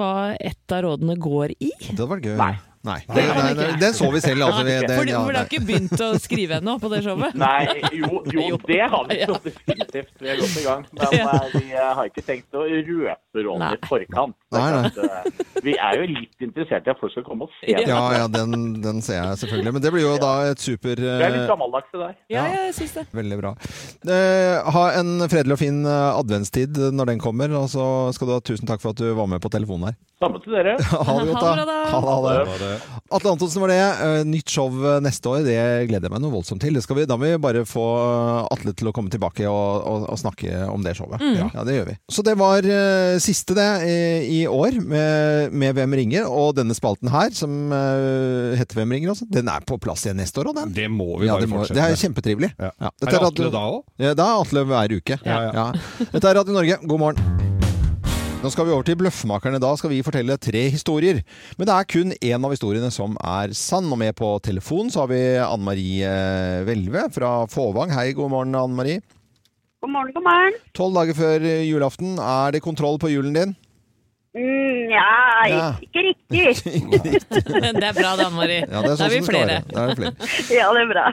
Speaker 4: hva ett av rådene går i?
Speaker 1: Det hadde vært gøy.
Speaker 9: Nei.
Speaker 1: Nei. Det, nei, nei, den så vi selv, altså. Vi, det,
Speaker 4: For du
Speaker 1: ja,
Speaker 4: har
Speaker 1: nei.
Speaker 4: ikke begynt å skrive ennå på det showet?
Speaker 9: Nei, jo, jo det har vi så definitivt. Vi er godt i gang. Men eh, vi eh, har ikke tenkt å røpe rådene
Speaker 4: Nei.
Speaker 9: i forkant. Det
Speaker 1: Nei,
Speaker 9: er
Speaker 1: nei.
Speaker 9: klart, eh, Vi er jo litt interessert i at folk skal komme og se.
Speaker 1: ja, ja den, den ser jeg selvfølgelig. Men det blir jo da et super
Speaker 9: Vi er litt
Speaker 1: eh,
Speaker 9: gammeldagse der.
Speaker 4: Ja, jeg syns det.
Speaker 1: Veldig bra. Eh, ha en fredelig og fin eh, adventstid når den kommer, og så skal du ha tusen takk for at du var med på telefonen her.
Speaker 9: Samme til dere.
Speaker 1: Ha det godt,
Speaker 4: Ha det
Speaker 1: da.
Speaker 4: bra, da.
Speaker 1: Ha det, ha det.
Speaker 2: var det.
Speaker 1: Atle Antonsen var det. Eh, Nytt show eh, neste år, det gleder jeg meg noe voldsomt til. Det skal vi, da må vi bare få eh, Atle til å komme tilbake og, og, og snakke om det showet. Ja. det gjør vi. Så det var eh, siste det i, i år med, med Hvem ringer, og denne spalten her, som eh, heter Hvem ringer, altså, den er på plass igjen neste år òg, den.
Speaker 2: det må vi
Speaker 1: Ja,
Speaker 2: bare
Speaker 1: det, må,
Speaker 2: fortsette
Speaker 1: det er
Speaker 2: med.
Speaker 1: kjempetrivelig.
Speaker 2: Ja.
Speaker 1: Ja.
Speaker 2: Er
Speaker 1: Dette
Speaker 2: det Atle da òg?
Speaker 1: ja, da er Atle hver uke.
Speaker 2: Ja, ja.
Speaker 1: Dette er Radio Norge, god morgen. Nå skal vi over til Bløffmakerne. Da skal vi fortelle tre historier. Men det er kun én av historiene som er sann. Og med på telefon så har vi Anne Marie eh, Hvelve fra Fåvang. Hei, god morgen, Anne Marie.
Speaker 8: God morgen, god morgen.
Speaker 1: Tolv dager før julaften. Er det kontroll på julen din?
Speaker 8: Mm, ja,
Speaker 1: Ja.
Speaker 8: ikke riktig.
Speaker 4: Det er bra, Dan Mari.
Speaker 1: Ja,
Speaker 4: da er vi
Speaker 1: som det skal
Speaker 4: flere.
Speaker 1: være. Da er det flere.
Speaker 8: Ja, det er bra.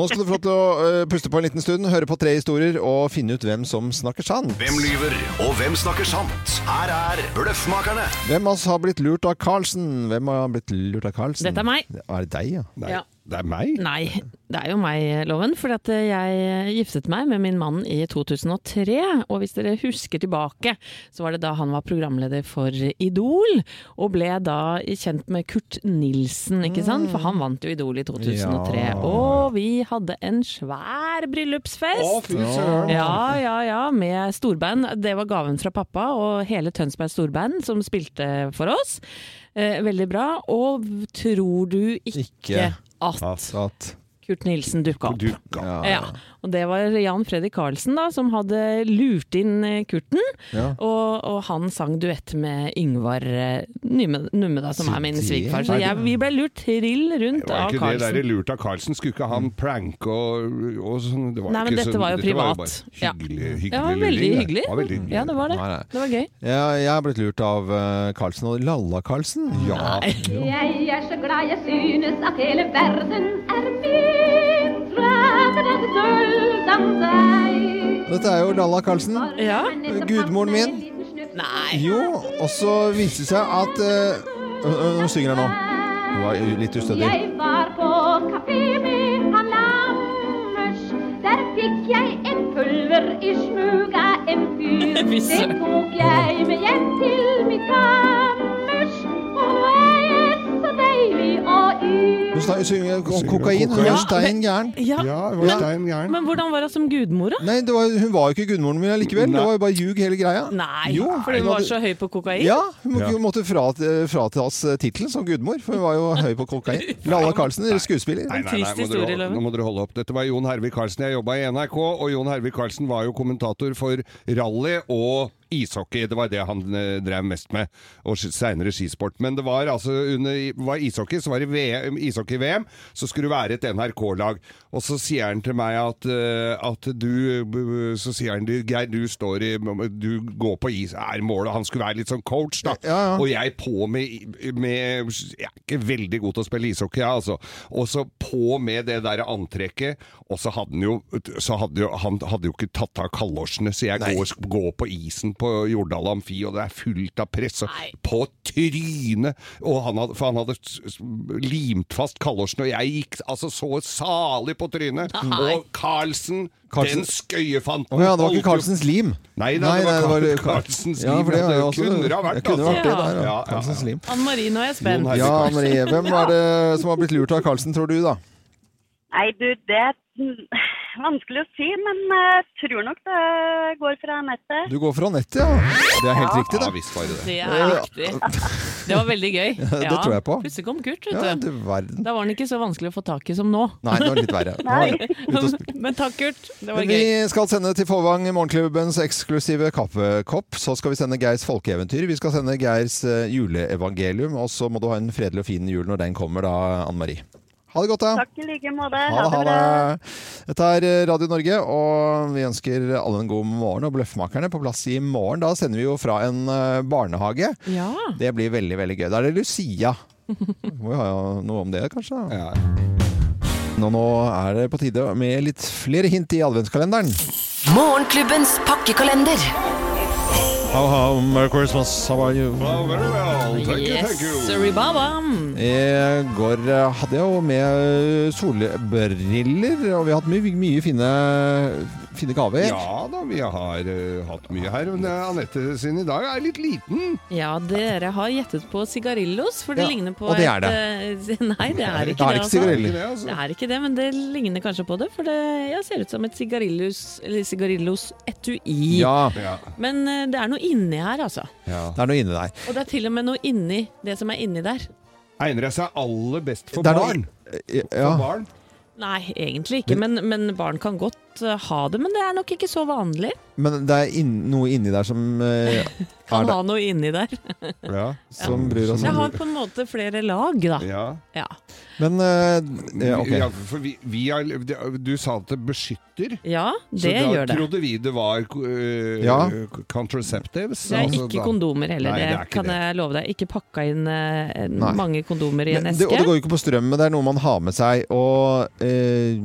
Speaker 1: Nå skal du få lov til å eh, puste på en liten stund, høre på tre historier og finne ut hvem som snakker sant.
Speaker 10: Hvem lyver, og hvem snakker sant? Her er Bløffmakerne.
Speaker 1: Hvem av oss har blitt lurt av Carlsen? Hvem har blitt lurt av Carlsen?
Speaker 4: Dette er meg.
Speaker 1: Er det deg, ja?
Speaker 2: Nei,
Speaker 4: Ja.
Speaker 2: det er meg?
Speaker 4: Nei, det er jo meg, Loven. For at eh, jeg giftet meg med min mann i 2003. Og hvis dere husker tilbake, så var det da han var programleder for Idol. Og ble da kjent med Kurt Nilsen, ikke sant? For han vant jo Idol i 2003.
Speaker 1: Mm. Ja.
Speaker 4: Og vi hadde en svær bryllupsfest.
Speaker 2: Å, fy søren.
Speaker 4: Ja, ja, ja, med storband. Det var gaven fra pappa og hele Tønsberg storband som spilte for oss. Eh, veldig bra. Og tror du ikke, at Kurt Nilsen dukka opp?
Speaker 1: Ja.
Speaker 4: Ja. Og det var Jan Fredrik Karlsen da, som hadde lurt inn eh, Kurten.
Speaker 1: Ja.
Speaker 4: Og, og han sang duett med Yngvar eh, Numme, Numme da, som
Speaker 2: Så
Speaker 4: er min
Speaker 2: det-
Speaker 4: svigerfar. Så
Speaker 2: Nei, det-
Speaker 4: jeg, vi ble lurt trill rundt
Speaker 2: Det var
Speaker 4: av
Speaker 2: ikke det der
Speaker 4: Karlsen.
Speaker 2: lurt av Carlsen. Skulle ikke han pranke og, og sånn? Det var
Speaker 4: Nei, men
Speaker 2: ikke
Speaker 4: dette
Speaker 2: sånn-
Speaker 4: var jo
Speaker 2: dette
Speaker 4: privat.
Speaker 2: bare
Speaker 4: Ja.
Speaker 2: hyggelig, hyggelig
Speaker 4: Ja, veldig
Speaker 2: luring, det.
Speaker 4: hyggelig.
Speaker 2: Det var veldig hyggelig.
Speaker 4: Ja, det var det.
Speaker 1: Nei, nei.
Speaker 4: Det var gøy.
Speaker 1: Jeg, jeg er blitt lurt av eh, Carlsen og Lalla-Carlsen. Ja.
Speaker 11: Jeg er så glad jeg synes at hele verden er min Fra den sølvdam deg
Speaker 1: Dette er jo Lalla Carlsen.
Speaker 4: Ja.
Speaker 1: Gudmoren min.
Speaker 4: Nei.
Speaker 1: Jo, og så viste det seg at eh, øh, øh, Nå synger jeg nå. Det var litt ustødig.
Speaker 11: Jeg var på kafé med han Lammers Der fikk jeg en pulver i smug av en fyr
Speaker 4: Fy
Speaker 11: Det
Speaker 4: søren.
Speaker 11: tok jeg med hjem til mitt kammers Og nå er jeg så deilig og yr
Speaker 1: Hun sna- synger om
Speaker 2: om
Speaker 1: kokain. Hun
Speaker 2: kokain.
Speaker 1: var stein gæren.
Speaker 4: Ja.
Speaker 2: Ja, det var
Speaker 4: Men,
Speaker 2: stein gæren.
Speaker 4: men hvordan var hun som gudmor, da?
Speaker 1: Nei, det var, hun var jo ikke gudmoren min allikevel. Det
Speaker 2: Nei.
Speaker 1: var jo bare ljug hele greia.
Speaker 4: Nei,
Speaker 1: Jo,
Speaker 4: for hun
Speaker 1: hun
Speaker 4: var
Speaker 1: hadde-
Speaker 4: så høy på kokain.
Speaker 1: Ja, hun må- hun måtte frat- fratas eh, tittelen som gudmor, for hun var jo høy på kokain. Lalla Carlsen, skuespiller.
Speaker 2: Nei, nei, nei,
Speaker 4: Trist
Speaker 2: må dere
Speaker 4: historie,
Speaker 2: holde-
Speaker 4: Loven.
Speaker 2: Nå må dere holde opp. Dette var Jon Hervik Karlsen. Jeg jobba i NRK, og Jon Hervik Karlsen var jo kommentator for rally og ishockey. Det var det han eh, drev mest med, og s- seinere skisport. Men det var altså under i- var ishockey, så var det VM, ishockey-VM, så skulle det være et NRK-lag. Og så sier han til meg at, eh, at du b- b- Så sier han du, Geir, du står i Du går på is, er målet. Han skulle være litt sånn coach, da.
Speaker 1: Ja, ja.
Speaker 2: Og jeg på med, med Jeg er ikke veldig god til å spille ishockey, jeg, altså. Og så på med det der antrekket, og så hadde han jo, så hadde jo Han hadde jo ikke tatt av kalosjene, så jeg går, går på isen på Jordal Amfi, og det er fullt av press. Og
Speaker 4: Nei.
Speaker 2: på trynet! Og han hadde, for han hadde s- s- limt fast kalosjene, og jeg gikk altså så salig på trynet.
Speaker 4: Nei.
Speaker 2: Og Carlsen,
Speaker 1: Carlsen-
Speaker 2: den skøyefanten
Speaker 1: Å ja, det var ikke
Speaker 2: holdt jo-
Speaker 1: Carlsens lim.
Speaker 2: Nei, da, det var
Speaker 1: nei,
Speaker 2: Carl- Carlsens
Speaker 1: Ja,
Speaker 2: lim,
Speaker 1: for det,
Speaker 2: ja,
Speaker 1: var
Speaker 2: det
Speaker 1: jo også-
Speaker 2: kunne det ha vært,
Speaker 1: det kunne
Speaker 4: altså.
Speaker 1: vært det der,
Speaker 2: Ja, ja,
Speaker 1: ja.
Speaker 2: ja.
Speaker 1: Carlsens lim.
Speaker 4: Anne Marie, nå er jeg
Speaker 2: Jon
Speaker 4: spent.
Speaker 2: Hervik
Speaker 1: Ja,
Speaker 2: Karlsen.
Speaker 1: Anne Marie, hvem er det som har blitt lurt av Carlsen, tror du, da?
Speaker 12: Nei, du, det er vanskelig å si, men jeg tror nok det går fra nettet.
Speaker 1: Du går fra nettet, ja. Det er helt riktig,
Speaker 2: Ja,
Speaker 1: det.
Speaker 2: visst var det det.
Speaker 4: Det er riktig. Det var veldig gøy.
Speaker 1: det tror jeg på.
Speaker 4: Plutselig kom Kurt,
Speaker 1: Ja,
Speaker 4: vet du.
Speaker 1: du verden.
Speaker 4: Da var den ikke så vanskelig å få tak i som nå.
Speaker 1: Nei, det var litt verre. Nå er det ute og sp-
Speaker 4: Men takk, Kurt. Det var
Speaker 1: Men
Speaker 4: gøy.
Speaker 1: vi skal sende til Fåvang morgenklubbens eksklusive kaffekopp. Så skal vi sende Geirs folkeeventyr. Vi skal sende Geirs eh, juleevangelium. Og så må du ha en fredelig og fin jul når den kommer, da, Anne Marie. Ha det godt, da.
Speaker 12: Takk i like måte.
Speaker 1: Ha det, ha det. Dette er eh, Radio Norge, og vi ønsker alle en god morgen. Og Bløffmakerne på plass i morgen. Da sender vi jo fra en eh, barnehage.
Speaker 4: Ja.
Speaker 1: Det blir veldig, veldig gøy. Da er det Lucia. Må jo ha noe om det, kanskje. da.
Speaker 2: Ja.
Speaker 1: Nå, nå er det på tide med litt flere hint i adventskalenderen.
Speaker 7: Morgenklubbens pakkekalender.
Speaker 1: How, how,
Speaker 2: eh,
Speaker 1: Merry Christmas, how are you?
Speaker 2: Well, very well. Thank you,
Speaker 4: Yes,
Speaker 2: thank you.
Speaker 4: sorry, baba.
Speaker 1: I går eh, hadde jeg jo med eh, solbriller, og vi har hatt mye, mye fine, fine gaver.
Speaker 2: Ja da, vi har eh, hatt mye her. Men eh, Anette sin i dag er litt liten.
Speaker 4: Ja, dere har gjettet på sigarillos, for det
Speaker 1: Ja,
Speaker 4: ligner på
Speaker 1: og det er
Speaker 4: et eh, Nei, det
Speaker 1: Da er
Speaker 4: er ikke det,
Speaker 1: det ikke
Speaker 4: altså.
Speaker 1: sigarillos.
Speaker 2: Er det ikke det,
Speaker 4: Det
Speaker 2: altså?
Speaker 4: er ikke det, men det ligner kanskje på det, for det ja, ser ut som et sigarillos, eller sigarillos-etui.
Speaker 1: Ja,
Speaker 2: Ja.
Speaker 4: Men eh, det er noe inni her, altså.
Speaker 2: Ja.
Speaker 1: det er noe inni der.
Speaker 4: Og det er til og med noe inni det som er inni der.
Speaker 2: Egner jeg seg aller best for
Speaker 1: Det er noe-
Speaker 2: barn?
Speaker 1: Ja.
Speaker 2: For barn?
Speaker 4: Nei, egentlig ikke, men, men barn kan godt eh, ha det. Men det er nok ikke så vanlig.
Speaker 1: Men det er inn, noe inni der som eh,
Speaker 4: Kan
Speaker 1: er der,
Speaker 4: ha noe inni der.
Speaker 2: Ja.
Speaker 1: som bryr oss
Speaker 4: Det
Speaker 1: om.
Speaker 4: har på en måte flere lag, da.
Speaker 2: Ja.
Speaker 4: Ja.
Speaker 1: Men eh, ja,
Speaker 2: ja,
Speaker 1: ok.
Speaker 2: for vi, vi er, du sa at det beskytter.
Speaker 4: Ja,
Speaker 2: Så
Speaker 4: det
Speaker 2: da
Speaker 4: gjør det.
Speaker 2: trodde vi det var eh,
Speaker 1: Ja.
Speaker 2: contraceptives.
Speaker 4: Det er
Speaker 2: altså
Speaker 4: ikke
Speaker 2: da-
Speaker 4: kondomer heller,
Speaker 2: Nei, det er
Speaker 4: det
Speaker 2: ikke
Speaker 4: kan
Speaker 2: det.
Speaker 4: jeg love deg. Ikke pakka inn eh, en-
Speaker 1: Nei.
Speaker 4: mange kondomer i en
Speaker 1: Men det,
Speaker 4: eske.
Speaker 1: og det går jo ikke på strøm, men det er noe man har med seg, og eh,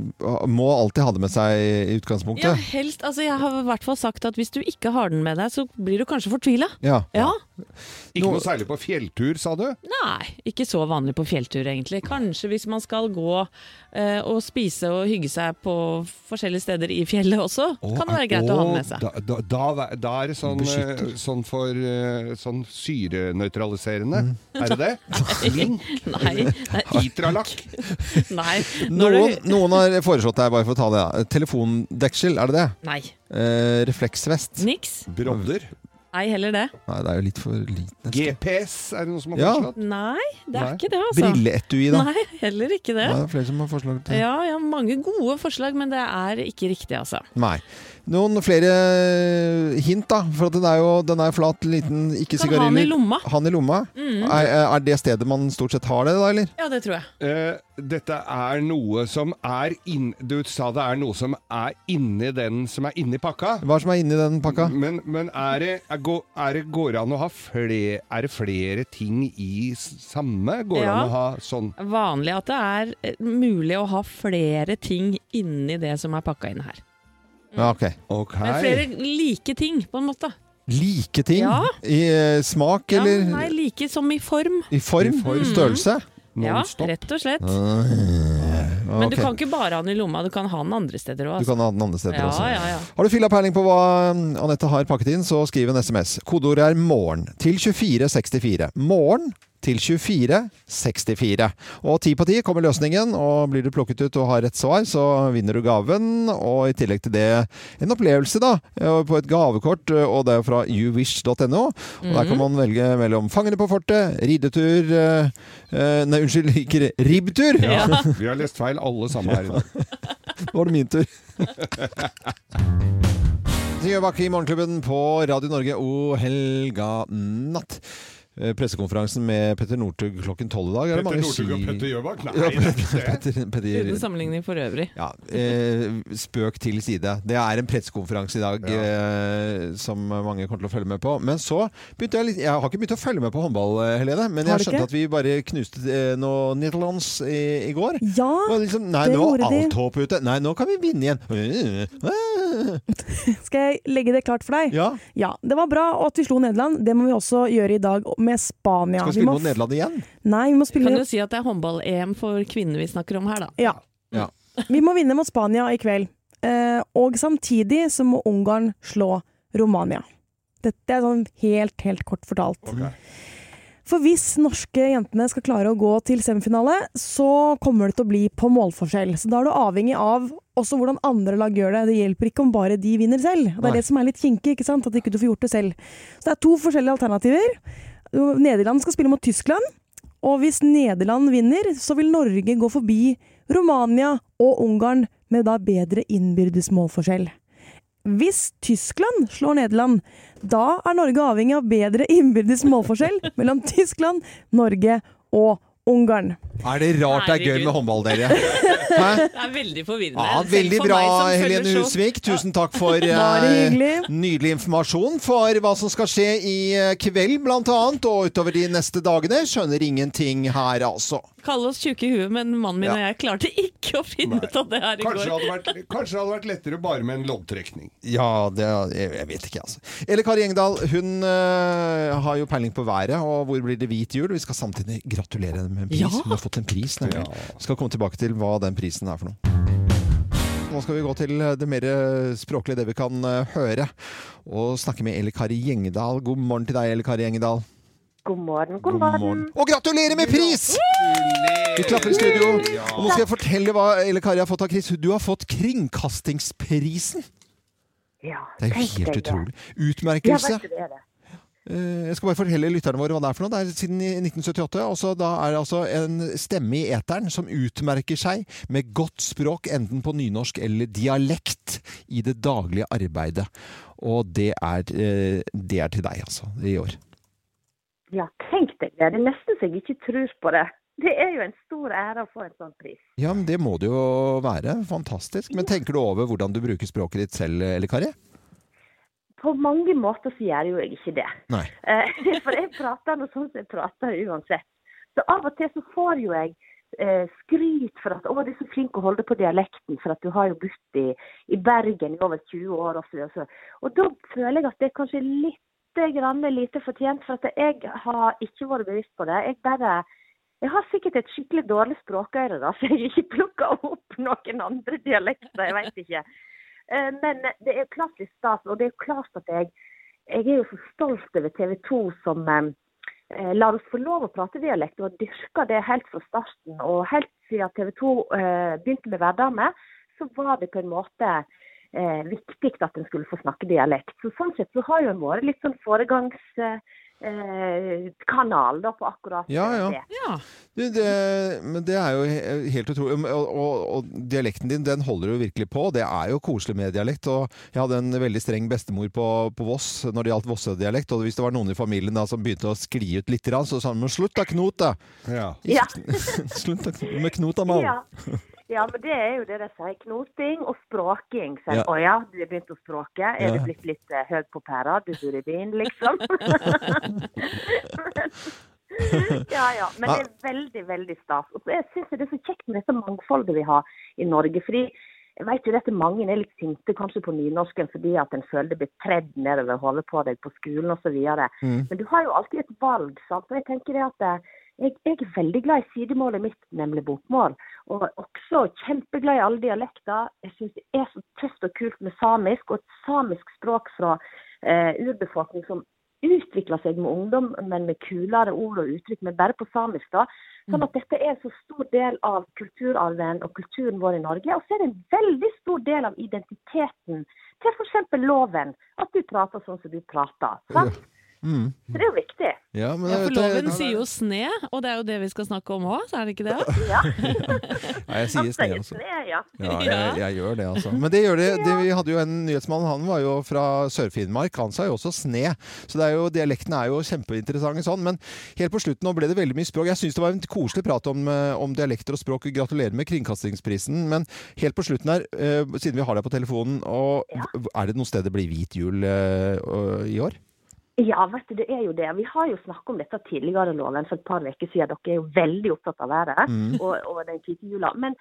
Speaker 1: må alltid ha det med seg i
Speaker 4: ja,
Speaker 1: utgangspunktet.
Speaker 4: helst. Altså, jeg har i hvert fall sagt at hvis du ikke har den med deg, så blir du kanskje fortvila.
Speaker 1: Ja.
Speaker 4: Ja.
Speaker 2: Ikke noe særlig på fjelltur, sa du?
Speaker 4: Nei, ikke så vanlig på fjelltur, egentlig. Kanskje hvis man skal gå eh, og spise og hygge seg på forskjellige steder i fjellet også, kan det være greit å ha den med seg.
Speaker 2: Da, da, da, da er det sånn, eh, sånn for eh, sånn syrenøytraliserende.
Speaker 1: Mm.
Speaker 2: Er det det? Flink.
Speaker 4: Nei, nei,
Speaker 2: Itralakk.
Speaker 4: nei. Når
Speaker 1: Noen,
Speaker 4: du,
Speaker 1: noen har foreslått deg, bare for å ta det, da. Telefondeksel, er det det?
Speaker 4: nei.
Speaker 1: Eh, refleksvest.
Speaker 4: Niks.
Speaker 2: Brodder.
Speaker 4: Nei, heller det.
Speaker 1: Nei, det er jo litt for liten.
Speaker 2: GPS, er det noen som har
Speaker 1: Ja.
Speaker 2: foreslått?
Speaker 4: Nei, det er
Speaker 1: Nei.
Speaker 4: ikke det, altså.
Speaker 1: Brilleetui, da.
Speaker 4: Nei, heller ikke det.
Speaker 1: Nei, det er flere som har forslag til
Speaker 4: Ja, ja, mange gode forslag, men det er ikke riktig, altså.
Speaker 1: Nei. Noen flere hint, da? For at den er jo den er flat, liten, ikke
Speaker 4: Kan
Speaker 1: sigariller.
Speaker 4: ha den i lomma.
Speaker 1: Ha den i lomma.
Speaker 4: Mm.
Speaker 1: Er, er det stedet man stort sett har det, da, eller?
Speaker 4: Ja, det tror jeg.
Speaker 2: Eh, dette er noe som er inn... Du sa det er noe som er inni den som er inni pakka.
Speaker 1: Hva som er inni den pakka?
Speaker 4: Mm.
Speaker 2: Men, men er det, er, gå- er det, går det an å ha flere, er det flere ting i s- samme? Går det
Speaker 4: Ja.
Speaker 2: an å ha sånn
Speaker 4: Vanlig at det er eh, mulig å ha flere ting inni det som er pakka inn her.
Speaker 1: Ja, ok.
Speaker 4: Men flere like ting, på en måte.
Speaker 1: Like ting?
Speaker 4: Ja.
Speaker 1: I eh, smak,
Speaker 4: Ja,
Speaker 1: eller?
Speaker 4: men nei, Mm. like som i form.
Speaker 1: I form?
Speaker 4: I form.
Speaker 1: Størrelse?
Speaker 4: Ja, rett og slett.
Speaker 1: Men
Speaker 4: Men du kan ikke bare ha den i lomma, du kan ha den andre steder òg.
Speaker 1: Du kan ha den andre steder
Speaker 4: ja,
Speaker 1: også.
Speaker 4: Ja, ja.
Speaker 1: Har du fylla peiling på hva mm, Anette har pakket inn, så skriv en SMS. Kodeordet er 'morgen' til 2464. Morgen til 2464. Og ti på ti kommer løsningen, og blir du plukket ut og har rett svar, så vinner du gaven. Og i tillegg til det en opplevelse, da, eh, på et gavekort, eh, og det er fra youwish.no. Og der kan man velge mellom Fangene på fortet, ridetur eh, eh, Nei, unnskyld, ikke ri- ribbtur!
Speaker 2: ja. Vi har lest feil alle sammen her i dag.
Speaker 1: Nå var det min tur. Tine Bakke i Morgenklubben på Radio Norge og helga natt. Eh, Pressekonferansen med Petter Northug klokken tolv i dag. er det mange si-
Speaker 2: Gjøbakk?
Speaker 1: Ja, Petter, Petter,
Speaker 4: altså, Uten sammenligning for øvrig.
Speaker 1: ja, eh, spøk til side. Det er en pressekonferanse i dag eh, som mange kommer til å følge med på. Men så begynte jeg litt Jeg har ikke begynt å følge med på håndball, eh, Helene, men
Speaker 5: Har
Speaker 1: jeg
Speaker 5: du
Speaker 1: skjønte
Speaker 5: ikke?
Speaker 1: at vi bare knuste eh, noe Nederlands i, i går.
Speaker 5: Ja,
Speaker 1: Og liksom, nei,
Speaker 5: det
Speaker 1: nå var
Speaker 5: gjorde de.
Speaker 1: alt håp ute. Nei, nå kan vi vinne igjen.
Speaker 5: Skal jeg legge det klart for deg?
Speaker 1: Ja.
Speaker 5: Det var bra og at vi slo Nederland. Det må vi også gjøre i dag med Spania.
Speaker 1: Skal vi
Speaker 5: Vi
Speaker 1: spille
Speaker 5: må
Speaker 1: mot Nederland igjen?
Speaker 5: f- Nei, vi må
Speaker 4: Vi kan
Speaker 5: spille
Speaker 4: jo si at det er håndball-EM for kvinner vi snakker om her, da.
Speaker 5: Ja.
Speaker 1: Ja.
Speaker 5: Vi må vinne mot Spania i kveld. Eh, og samtidig så må Ungarn slå Romania. Dette er sånn helt, helt kort fortalt. For hvis norske jentene skal klare å gå til semifinale, så kommer det til å bli på målforskjell. Så da er du avhengig av også hvordan andre lag gjør det. Det hjelper ikke om bare de vinner selv. Og Det
Speaker 13: Nei.
Speaker 5: er det som er litt kinkig, ikke sant? At ikke du får gjort det selv. Så det er to forskjellige alternativer. Nederland skal spille mot Tyskland. Og hvis Nederland vinner, så vil Norge gå forbi Romania og Ungarn med da bedre innbyrdes målforskjell. Hvis Tyskland slår Nederland, da er Norge avhengig av bedre innbyrdes målforskjell mellom Tyskland, Norge og Ungarn.
Speaker 1: Er det rart det er gøy med håndball, dere? Hæ?
Speaker 4: Det er veldig forvirrende.
Speaker 1: Ja,
Speaker 4: Selv
Speaker 1: veldig
Speaker 4: for
Speaker 1: bra,
Speaker 4: meg som følger
Speaker 1: Helene
Speaker 4: så-
Speaker 1: Husvik. Tusen takk for eh,
Speaker 5: Bare hyggelig.
Speaker 1: nydelig informasjon for hva som skal skje i eh, kveld, blant annet, og utover de neste dagene. Skjønner ingenting her, altså.
Speaker 4: Kalle oss tjuke i huet, men mannen min
Speaker 1: Ja.
Speaker 4: og jeg klarte ikke å finne ut av det her i
Speaker 2: Kanskje det
Speaker 4: går.
Speaker 2: hadde vært, kanskje det hadde vært lettere bare med en loddtrekning.
Speaker 1: Ja, det, jeg, jeg vet ikke, altså. Eller Kari Engdahl, hun eh, har jo peiling på været, og hvor blir det hvit jul? Vi skal samtidig gratulere henne med en pris.
Speaker 14: Ja.
Speaker 1: Hun har fått en pris, nemlig. Skal komme tilbake til hva den prisen er for noe. Nå skal vi gå til eh, det mer språklige, det vi kan eh, høre. Og snakke med Eli Kari Gjengedal. God morgen til deg, Eli Kari Gjengedal.
Speaker 15: God morgen,
Speaker 1: god morgen. Og gratulerer med pris! Vi klapper i studio. Og nå skal jeg fortelle hva Eli Kari har fått av Chris. Du har fått Kringkastingsprisen.
Speaker 15: Ja,
Speaker 1: Det er jo
Speaker 15: tenk deg
Speaker 1: helt
Speaker 15: det.
Speaker 1: utrolig.
Speaker 15: Ja,
Speaker 1: Utmerkelse.
Speaker 15: vet du det er det.
Speaker 1: Eh, Jeg skal bare fortelle lytterne våre hva det er for noe. Det er siden i 1978. og så da er det altså en stemme i eteren som utmerker seg med godt språk, enten på nynorsk eller dialekt, i det daglige arbeidet. Og det er, eh, det er til deg, altså, i år.
Speaker 15: Ja, tenk deg det. Det er nesten så jeg ikke tror på det. Det er jo en stor ære å få en sånn pris.
Speaker 1: Ja, men det må det jo være. Fantastisk. Men tenker du over hvordan du bruker språket ditt selv, eller Kari?
Speaker 15: På mange måter så gjør jo jeg ikke det.
Speaker 1: Nei.
Speaker 15: Eh, For jeg prater nå sånn som jeg prater uansett. Så av og til så får jo jeg eh, skryt for at 'Å, du er så flink å holde på dialekten', for at du har jo bodd i, i Bergen i over 20 år og så videre. og så videre. Og da føler jeg at det er kanskje litt grann lite fortjent, for at jeg har ikke vært bevisst på det. Jeg bare jeg har sikkert et skikkelig dårlig språkøre, da, så jeg ikke plukker opp noen andre dialekter. Jeg vet ikke. Eh, Men det er klart litt stas, og det er klart at jeg, jeg er jo så stolt over TV 2 som eh, eh, lar oss få lov å prate dialekt, og dyrker det helt fra starten. Og helt siden TV 2 eh, begynte med Hverdame, så var det på en måte eh, viktig at en skulle få snakke dialekt. Så sånn sett så har jo en vært litt sånn foregangskanal eh, kanal da på akkurat
Speaker 1: Ja, ja.
Speaker 15: det.
Speaker 1: Du, det, men det er jo he- helt utrolig. Og, og, og dialekten din, den holder du virkelig på. Det er jo koselig med dialekt. Og jeg hadde en veldig streng bestemor på, på Voss når det gjaldt Vossedialekt. Og hvis det var noen i familien da, som begynte å skli ut litt, grann, så sa de 'slutt da, Knot', da.
Speaker 15: Ja.
Speaker 1: Slutt da, Knut, med Knot da, mann.
Speaker 15: Ja. ja, men det er jo det de sier. Knoting og språking. Så,
Speaker 1: Ja.
Speaker 15: Å ja, du er begynt å språke. Er
Speaker 1: Ja.
Speaker 15: du blitt litt eh, høy på pæra? Du bor i byen, liksom? liksom? ja, ja. Men det er veldig, veldig stas. Og så jeg syns det er så kjekt med dette mangfoldet vi har i Norge. fordi jeg vet jo dette mange er litt sinte kanskje på nynorsken fordi at en føler det blir tredd nedover hodet på deg på skolen osv.
Speaker 13: Mm.
Speaker 15: Men du har jo alltid et valg. sant? Og jeg tenker det at eh, jeg, jeg er veldig glad i sidemålet mitt, nemlig bokmål. Og også kjempeglad i alle dialekter. Jeg syns det er så tøft og kult med samisk, og et samisk språk fra eh, urbefolkning som utvikler seg med ungdom, men med kulere ord og uttrykk, men bare på samisk. da.
Speaker 1: Mm.
Speaker 15: Sånn at dette er en så stor del av kulturarven og kulturen vår i Norge. Og så er det en veldig stor del av identiteten til f.eks. loven. At du prater sånn som du prater. Sant?
Speaker 1: Mm.
Speaker 15: Så det er jo viktig.
Speaker 1: Ja, men
Speaker 4: Ja,
Speaker 1: jeg
Speaker 4: for
Speaker 1: vet det-
Speaker 4: loven sier jo sne, og det er jo det vi skal snakke om òg, er det ikke det?
Speaker 15: Ja.
Speaker 1: Nei, jeg sier sne, altså.
Speaker 15: ja.
Speaker 1: Ja, jeg, jeg gjør det, altså. Men det gjør det. det vi hadde jo en nyhetsmann, han var jo fra Sør-Finnmark. Han sa jo også sne. Så det er jo, dialekten er jo kjempeinteressant sånn. Men helt på slutten nå ble det veldig mye språk. Jeg syns det var en koselig prat om, eh, om dialekter og språk. Gratulerer med kringkastingsprisen. Men helt på slutten her, eh, siden vi har deg på telefonen, og er det noe sted det blir hvit jul eh, og- i år?
Speaker 15: Ja, vet du, det er jo det. Vi har jo snakket om dette tidligere, Loven, for et par uker siden. Dere er jo veldig opptatt av været
Speaker 13: Mm.
Speaker 15: og, og den hvite jula. Men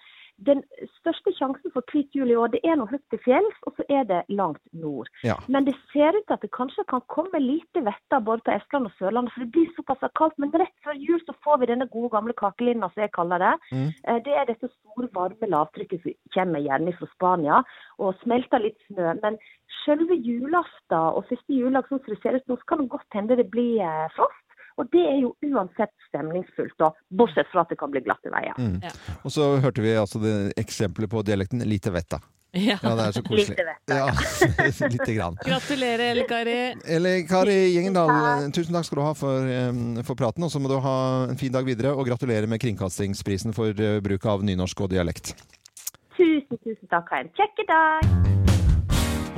Speaker 15: den største sjansen for hvit jul i år, det er nå høyt til fjells, og så er det langt nord.
Speaker 13: Ja.
Speaker 15: Men det ser ut til at det kanskje kan komme lite vetter både på Estland og Sørlandet, for det blir såpass kaldt. Men rett før jul så får vi denne gode gamle kakelinna, som jeg kaller det.
Speaker 13: Mm.
Speaker 15: Eh, Det er dette store, varme lavtrykket som kommer gjerne fra Spania og smelter litt snø. Men selve julaften og første juledag, sånn som det ser ut nå, så kan det godt hende det blir eh, frost. Og det er jo uansett stemningsfullt, da, bortsett fra at det kan bli glatte veier.
Speaker 1: Mm. Og så hørte vi altså det eksempelet på dialekten lite vetta.
Speaker 4: Ja.
Speaker 1: det er så koselig.
Speaker 15: Lite vetta,
Speaker 1: ja. Lite grann.
Speaker 4: Gratulerer, Elle Kari.
Speaker 1: Eller Kari Gjengendal, tusen takk skal du ha for, eh, for praten. Og så må du ha en fin dag videre, og gratulerer med kringkastingsprisen for eh, bruk av nynorsk og dialekt.
Speaker 15: Tusen, tusen takk. Ha en kjekk dag.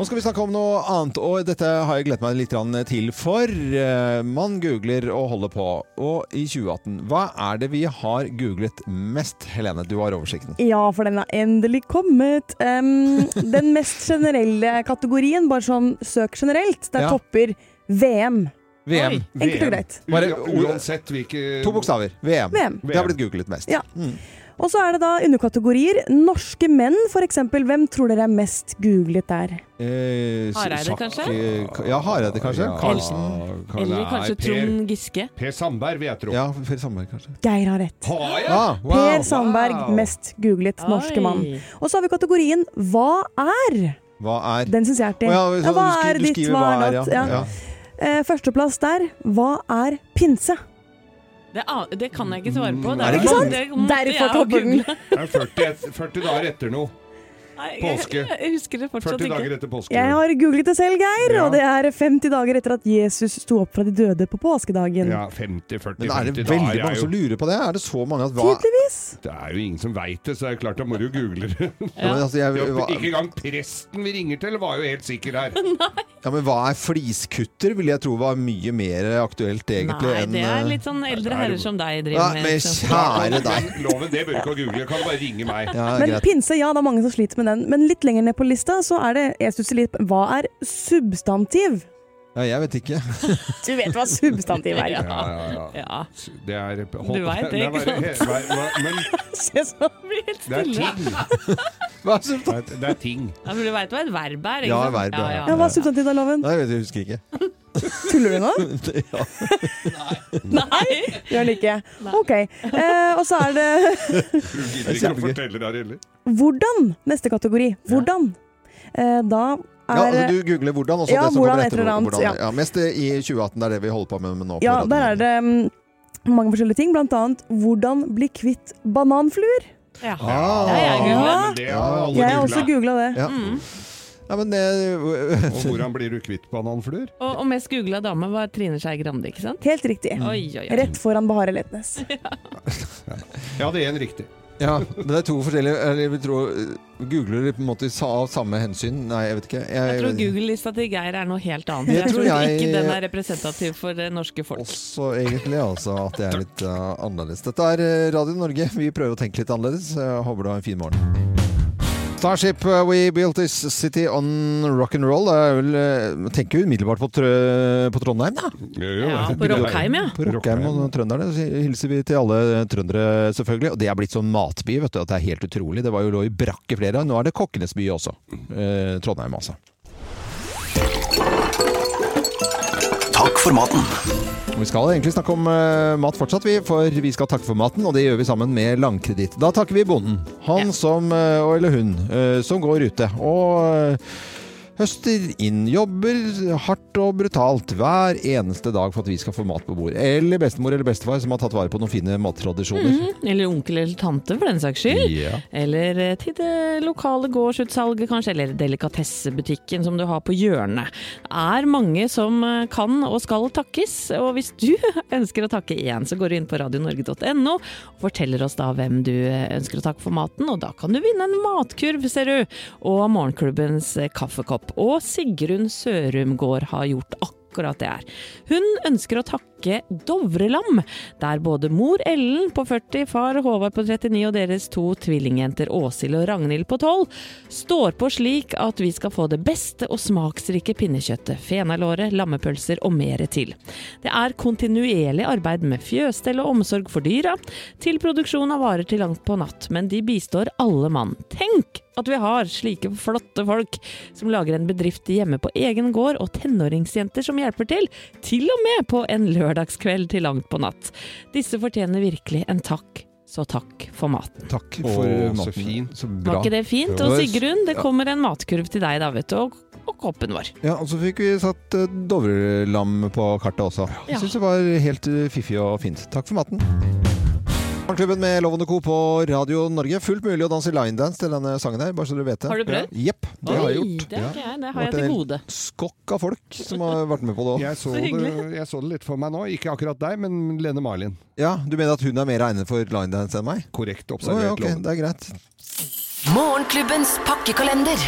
Speaker 1: Nå skal vi snakke om noe annet, og dette har jeg gledet meg litt grann til for. eh, Man googler og holder på. Og i 2018, hva er det vi har googlet mest? Helene, du har oversikten.
Speaker 5: Ja, for den er endelig kommet. Em, den mest generelle kategorien, bare sånn søk generelt, der
Speaker 1: Ja.
Speaker 5: topper VM.
Speaker 1: VM.
Speaker 5: Enkelt og greit.
Speaker 1: Bare-
Speaker 2: Uansett hvilke
Speaker 1: To bokstaver. VM.
Speaker 5: VM.
Speaker 1: Det har blitt googlet mest.
Speaker 5: Ja.
Speaker 1: Mm.
Speaker 5: Og så er det da underkategorier. Norske menn, f.eks. Hvem tror dere er mest googlet der?
Speaker 1: Eh,
Speaker 4: Hareide,
Speaker 1: Sak-
Speaker 4: kanskje?
Speaker 1: Ja, Hareide, kanskje.
Speaker 2: Ja,
Speaker 1: Karlsen.
Speaker 2: Karl- Eller kanskje Nei, Per- Trond
Speaker 4: Giske.
Speaker 2: Per Sandberg, vil jeg tro.
Speaker 1: Ja, Per Sandberg, kanskje.
Speaker 5: Geir har rett.
Speaker 2: Har jeg?
Speaker 1: Ah, wow.
Speaker 5: Per Sandberg,
Speaker 1: Wow.
Speaker 5: mest googlet norske
Speaker 1: Oi.
Speaker 5: mann. Og så har vi kategorien Hva er?
Speaker 1: Hva er
Speaker 5: Den syns jeg er artig.
Speaker 1: Å ja, så
Speaker 5: Ja, hva
Speaker 1: du skri-
Speaker 5: er
Speaker 1: du
Speaker 5: ditt,
Speaker 1: skriver
Speaker 5: hva er
Speaker 1: ja.
Speaker 5: datt? Ja.
Speaker 1: Ja.
Speaker 5: Eh, Førsteplass der. Hva er pinse?
Speaker 4: Det, an- det kan jeg ikke svare på. Det
Speaker 5: Er det
Speaker 4: jo-
Speaker 5: sant?
Speaker 4: det måtte
Speaker 5: Derfor
Speaker 4: jeg jo
Speaker 5: topper den.
Speaker 4: google.
Speaker 2: Det er 40, et- 40 dager etter noe.
Speaker 4: Nei, jeg-
Speaker 2: Påske.
Speaker 4: Jeg husker det fortsatt
Speaker 2: 40 dager
Speaker 4: ikke.
Speaker 2: etter påske.
Speaker 5: Jeg har googlet det selv, Geir, og det er 50 dager etter at Jesus sto opp fra de døde på påskedagen.
Speaker 2: Ja, 50-40
Speaker 1: Men er det
Speaker 2: 50 dager
Speaker 1: veldig
Speaker 2: er
Speaker 1: mange
Speaker 2: jo-
Speaker 1: som lurer på det? Er det så mange at hva
Speaker 5: Tydeligvis.
Speaker 2: Det er jo ingen som veit det, så det er klart da må du jo google det.
Speaker 1: Ja, men altså, jeg- hva-
Speaker 2: Ikke engang presten vi ringer til, var jo helt sikker her.
Speaker 1: Ja, men hva er fliskutter? Vil jeg tro var mye mer aktuelt egentlig
Speaker 4: Nei,
Speaker 1: enn
Speaker 4: det er
Speaker 1: eh,
Speaker 4: litt sånn eldre herrer som deg
Speaker 1: Ja,
Speaker 4: driver med.
Speaker 1: men
Speaker 4: liksom.
Speaker 1: kjære deg.
Speaker 2: Loven, det bør du ikke å google. Kan du bare ringe meg.
Speaker 5: Men pinse, ja, det er mange som sliter med den. Men litt lenger ned på lista så er det Jeg stusser litt på- Hva er substantiv?
Speaker 1: Ja, jeg vet ikke.
Speaker 5: Du vet hva substantiv er,
Speaker 2: Ja,
Speaker 5: ja.
Speaker 2: ja, ja. Det er
Speaker 5: Du vet det,
Speaker 2: Nei,
Speaker 5: ikke
Speaker 2: bare-
Speaker 5: sant?
Speaker 2: he- hva- hva- Men
Speaker 5: Se så blir helt
Speaker 2: det er ting.
Speaker 4: stille.
Speaker 2: Det er- Det er ting.
Speaker 4: Ja, for du veit hva et verb er? ikke
Speaker 1: Ja,
Speaker 4: sant?
Speaker 1: verb, ja.
Speaker 4: ja.
Speaker 5: Ja, hva er substantiv da, Loven?
Speaker 1: Nei, jeg vet, jeg husker ikke.
Speaker 5: Tuller du nå?
Speaker 1: Ja.
Speaker 5: Nei! Gjør den ikke. Ok. Eh, og så er det
Speaker 2: Hun gidder ikke å fortelle det her heller.
Speaker 5: Hvordan? Neste kategori. Hvordan? Eh, da
Speaker 1: Ja,
Speaker 5: er
Speaker 1: altså, du googler hvordan, og så
Speaker 5: Ja,
Speaker 1: det som
Speaker 5: hvordan
Speaker 1: kommer
Speaker 5: et
Speaker 1: etter.
Speaker 5: eller annet,
Speaker 1: hvordan,
Speaker 5: ja.
Speaker 1: ja. mest i 2018, det er det vi holder på med nå. på
Speaker 5: Ja,
Speaker 1: radioen.
Speaker 5: der er det mm, mange forskjellige ting. Blant annet hvordan bli kvitt bananfluer.
Speaker 4: Ja.
Speaker 1: Ah.
Speaker 5: Ja, Mm. jeg googlet.
Speaker 1: Ja, men det har alle
Speaker 5: Jeg har også
Speaker 1: googlet.
Speaker 5: googla det.
Speaker 1: Ja. Nei, men det
Speaker 2: Og hvordan blir du kvitt bananfluer?
Speaker 4: Og, og mest googla dame var Trine Skei Grande, ikke sant?
Speaker 5: Helt riktig.
Speaker 1: Mm.
Speaker 4: Oi, oi, oi.
Speaker 5: Rett foran Bahareh Letnes.
Speaker 2: Jeg hadde én riktig.
Speaker 1: Ja, men det er to forskjellige eller jeg vil tro, Googler de på en måte sa- av samme hensyn? Nei, jeg vet ikke. Jeg,
Speaker 4: Jeg tror Google-lista til Geir er noe helt annet.
Speaker 1: Jeg
Speaker 4: Jeg
Speaker 1: tror
Speaker 4: tror
Speaker 1: jeg-
Speaker 4: ikke den er representativ for det norske folk.
Speaker 1: Så egentlig altså at det er litt uh, annerledes. Dette er eh, Radio Norge. Vi prøver å tenke litt annerledes. Jeg håper du har en fin morgen. Starship, uh, we built this city on rock and roll. Det er vel, eh, jeg tenker jo umiddelbart på, trø på Trondheim, da.
Speaker 4: Ja, på Rockheim, ja.
Speaker 1: På Rockheim og trønderne så hilser vi til alle trøndere, selvfølgelig. Og det er blitt sånn matby, vet du, at det er helt utrolig. Det var jo lå i brakke flere. Nå er det kokkenes by også. Eh, Trondheim, altså.
Speaker 10: Takk for maten.
Speaker 1: Vi skal egentlig snakke om eh, mat fortsatt, vi, for vi skal takke for maten, og det gjør vi sammen med Langkreditt. Da takker vi bonden, han som, eh, og- eller hun, eh, som går ute og eh, høster inn, jobber hardt og brutalt hver eneste dag for at vi skal få mat på bord. Eller bestemor eller bestefar som har tatt vare på noen fine mattradisjoner.
Speaker 4: Mhm, Eller onkel eller tante, for den saks skyld.
Speaker 1: Ja.
Speaker 4: Eller eh, til det lokale gårdsutsalget, kanskje. Eller delikatessebutikken som du har på hjørnet. Det er mange som eh, kan og skal takkes. Og hvis du ønsker å takke én, så går du inn på radionorge.no og forteller oss da hvem du eh, ønsker å takke for maten. Og da kan du vinne en matkurv, ser du! Og morgenklubbens eh, kaffekopp. Og Sigrun Sørum gård har gjort akkurat akkurat det er. Hun ønsker å takke Dovrelam, der både mor Ellen på 40, far Håvard på 39 og deres to tvillingjenter Åshild og Ragnhild på 12 står på slik at vi skal få det beste og smaksrike pinnekjøttet, fenalåret, lammepølser og mere til. Det er kontinuerlig arbeid med fjøsstell og omsorg for dyra, til produksjon av varer til langt på natt, men de bistår alle mann. Tenk at vi har slike flotte folk som lager en bedrift hjemme på egen gård, og tenåringsjenter som hjelper til, til og med på en lørdagskveld til langt på natt. Disse fortjener virkelig en takk, så takk for maten.
Speaker 1: Takk
Speaker 2: for
Speaker 1: Å,
Speaker 2: maten.
Speaker 1: så fint. Så bra.
Speaker 4: Var ikke det fint? Og Sigrun, det kommer en matkurv til deg da, vet du, og, og koppen vår.
Speaker 1: Ja, og så fikk vi satt eh, Dovrelam på kartet også.
Speaker 4: Ja.
Speaker 1: Jeg syns det var helt eh, fiffig og fint. Takk for maten. Morgenklubben med Lovende Co. på Radio Norge. Fullt mulig å danse linedance til denne sangen her, bare så dere vet det.
Speaker 4: Har du prøvd?
Speaker 1: Ja. Jepp, det har jeg
Speaker 4: Oi,
Speaker 1: gjort.
Speaker 4: det har ikke jeg. Det har jeg
Speaker 1: vært en
Speaker 4: til
Speaker 1: hel
Speaker 4: gode.
Speaker 1: Skokk av folk som har vært med på det òg.
Speaker 2: Jeg så det, jeg så det litt for meg nå. Ikke akkurat deg, men Lene Marlin.
Speaker 1: Ja, du mener at hun er mer egnet for linedance enn meg?
Speaker 2: Korrekt
Speaker 1: Å,
Speaker 2: observert.
Speaker 1: ja, ok,
Speaker 2: Loven.
Speaker 1: det er greit.
Speaker 7: Morgenklubbens pakkekalender.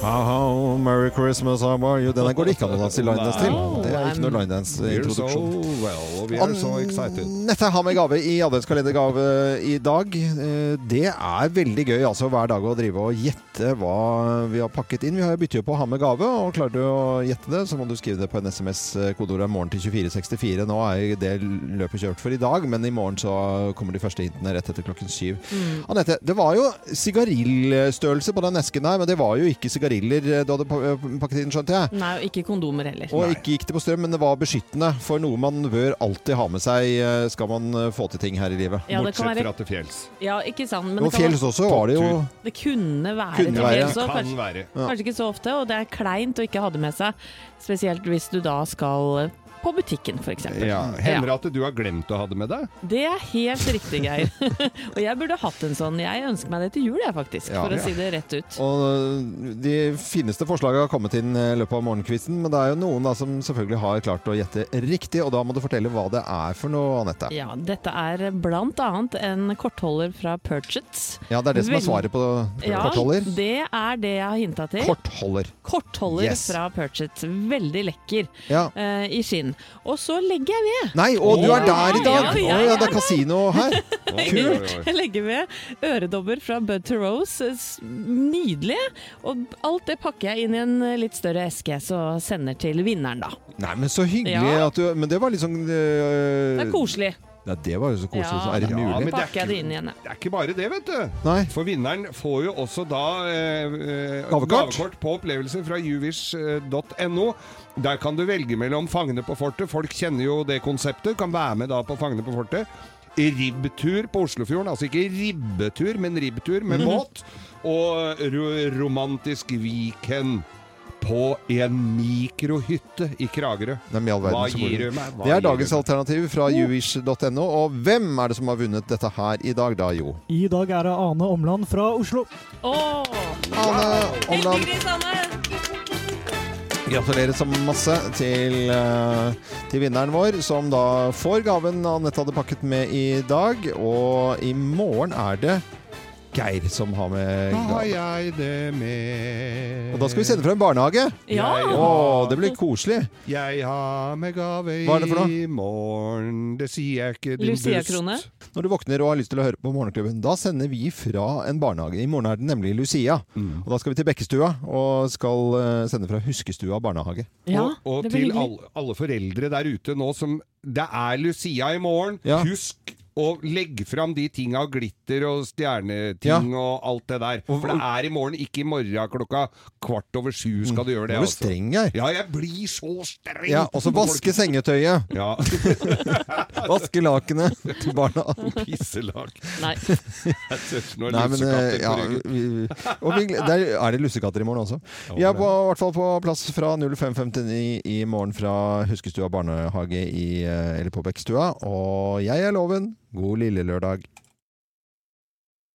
Speaker 1: How, how, Merry Christmas, how are you? Den her går det ikke an å danse linedance til.
Speaker 2: Wow,
Speaker 1: Det er ikke noe
Speaker 2: I'm- We're so
Speaker 1: linedance-introduksjon.
Speaker 2: well, og we are so excited.
Speaker 1: Nette har med gave i adventskalendergave i dag. Eh, Det er veldig gøy altså hver dag å drive og gjette hva vi har pakket inn. Vi har jo byttet på å ha med gave, og klarer du å gjette det, så må du skrive det på en SMS. eh, Kodeordet er morgen til 2464. Nå er jo det løpet kjørt for i dag, men i morgen så kommer de første hintene rett etter klokken syv. Anette, det var jo sigarillstørrelse på den esken her, men det var jo ikke sigariller du hadde pa- eh, pakket inn, skjønte jeg.
Speaker 4: Nei, og ikke kondomer heller.
Speaker 1: Og ikke gikk det på strøm, men det var beskyttende for noe man bør alltid ha med seg eh, skal man eh, få til ting her i livet.
Speaker 4: Ja, det kan Bortsett være- fra
Speaker 1: til fjells.
Speaker 4: Ja, ikke sant. Men
Speaker 1: Og
Speaker 4: det kan
Speaker 1: fjells
Speaker 4: være-
Speaker 1: også var det jo
Speaker 4: Det kunne være
Speaker 1: Kunne
Speaker 4: til
Speaker 1: være.
Speaker 4: dels også,
Speaker 1: Kan
Speaker 4: kanskje,
Speaker 1: være. Ja.
Speaker 4: kanskje ikke så ofte, og det er kleint å ikke ha det med seg. Spesielt hvis du da skal eh, på butikken, f.eks.
Speaker 2: Ja. Hender det at du har glemt å ha det med deg?
Speaker 4: Det er helt riktig, Geir. og jeg burde hatt en sånn. Jeg ønsker meg det til jul, jeg, faktisk.
Speaker 1: Ja.
Speaker 4: for å
Speaker 1: Ja.
Speaker 4: si det rett ut.
Speaker 1: Og eh, de fineste forslagene har kommet inn eh, i løpet av morgenkvisten, men det er jo noen da som selvfølgelig har klart å gjette riktig, og da må du fortelle hva det er for noe, Anette.
Speaker 4: Ja, dette er blant annet en kortholder fra Purchets.
Speaker 1: Ja, det er det som er svaret
Speaker 4: Veldig-
Speaker 1: på
Speaker 4: Ja,
Speaker 1: kortholder.
Speaker 4: det er det jeg har hinta til.
Speaker 1: Kortholder.
Speaker 4: Kortholder
Speaker 1: Yes.
Speaker 4: fra Purchets. Veldig lekker
Speaker 1: Ja.
Speaker 4: eh, i skinn. Og så legger jeg ved
Speaker 1: Nei, og du er der i dag! Å
Speaker 4: Ja,
Speaker 1: ja,
Speaker 4: ja,
Speaker 1: det er kasino her. Kult!
Speaker 4: Jeg legger ved øredobber fra Bud to Rose. S- Nydelige. Og alt det pakker jeg inn i en eh, litt større eske, så sender til vinneren, da.
Speaker 1: Nei, men så hyggelig
Speaker 4: Ja.
Speaker 1: at du Men det var liksom
Speaker 4: Det
Speaker 1: Det
Speaker 4: er koselig.
Speaker 1: Nei, det var jo så koselig.
Speaker 4: Ja.
Speaker 1: så er det
Speaker 4: Ja,
Speaker 1: mulig?
Speaker 4: men det er Pakker jeg det inn igjen, jeg.
Speaker 2: Det er ikke bare det, vet du.
Speaker 1: Nei.
Speaker 2: For vinneren får jo også da eh, eh,
Speaker 1: Gavekort.
Speaker 2: på opplevelser fra eh, juvish.no. Der kan du velge mellom Fangene på fortet. Folk kjenner jo det konseptet. Kan være med da på Fangene på fortet. Ribbtur på Oslofjorden. Altså ikke Mhm. ribbetur, men ribbtur med båt. Og ro romantisk weekend på en mikrohytte i Kragerø.
Speaker 1: Hvem i all verden
Speaker 2: Hva
Speaker 1: som bor
Speaker 2: gir
Speaker 1: der?
Speaker 2: du meg? Hva
Speaker 1: Det er
Speaker 2: gir du
Speaker 1: dagens alternativ fra jewish.no. Og hvem er det som har vunnet dette her i dag, da, jo?
Speaker 13: I dag er det Ane Omland fra Oslo.
Speaker 4: Åh!
Speaker 1: Omland.
Speaker 4: Heldiggris, Anne!
Speaker 1: Gratulerer så masse til, eh, til vinneren vår, som da får gaven Anette hadde pakket med i dag. Og i morgen er det Geir som har med
Speaker 2: Hva har
Speaker 1: gaven.
Speaker 2: jeg det med?
Speaker 1: Og da skal vi sende fra en barnehage.
Speaker 2: Ja.
Speaker 1: Å, det blir koselig.
Speaker 2: Jeg har med gave
Speaker 1: Hva er det for noe?
Speaker 2: i morgen, det sier jeg ikke, din dust.
Speaker 1: Når du våkner og har lyst til å høre på Morgenklubben, da sender vi fra en barnehage. I morgen er det nemlig Lucia.
Speaker 2: Mm.
Speaker 1: Og da skal vi til Bekkestua og skal eh, sende fra Huskestua barnehage.
Speaker 2: og og til alle, alle foreldre der ute nå som Det er Lucia i morgen. Husk å legge fram de tinga, glitter og stjerneting og alt det der. For det er i morgen, ikke i morgen klokka kvart over sju skal du gjøre det.
Speaker 1: Mm. Nå er
Speaker 2: altså.
Speaker 1: du streng, Geir.
Speaker 2: Ja, jeg blir så streng!
Speaker 1: Ja, og så vaske sengetøyet. vaske lakenet til barna.
Speaker 2: Pisselak.
Speaker 4: Nei.
Speaker 2: Nå er
Speaker 1: Nei, men, eh,
Speaker 2: lussekatter på
Speaker 1: ja,
Speaker 2: ryggen.
Speaker 1: vi- og vi, gle- der er det lussekatter i morgen også. Vi er på, i hvert fall på plass fra 05.59 i morgen fra Huskestua barnehage i, eh, eller på Bekkestua. Og jeg er Loven. God lille lørdag.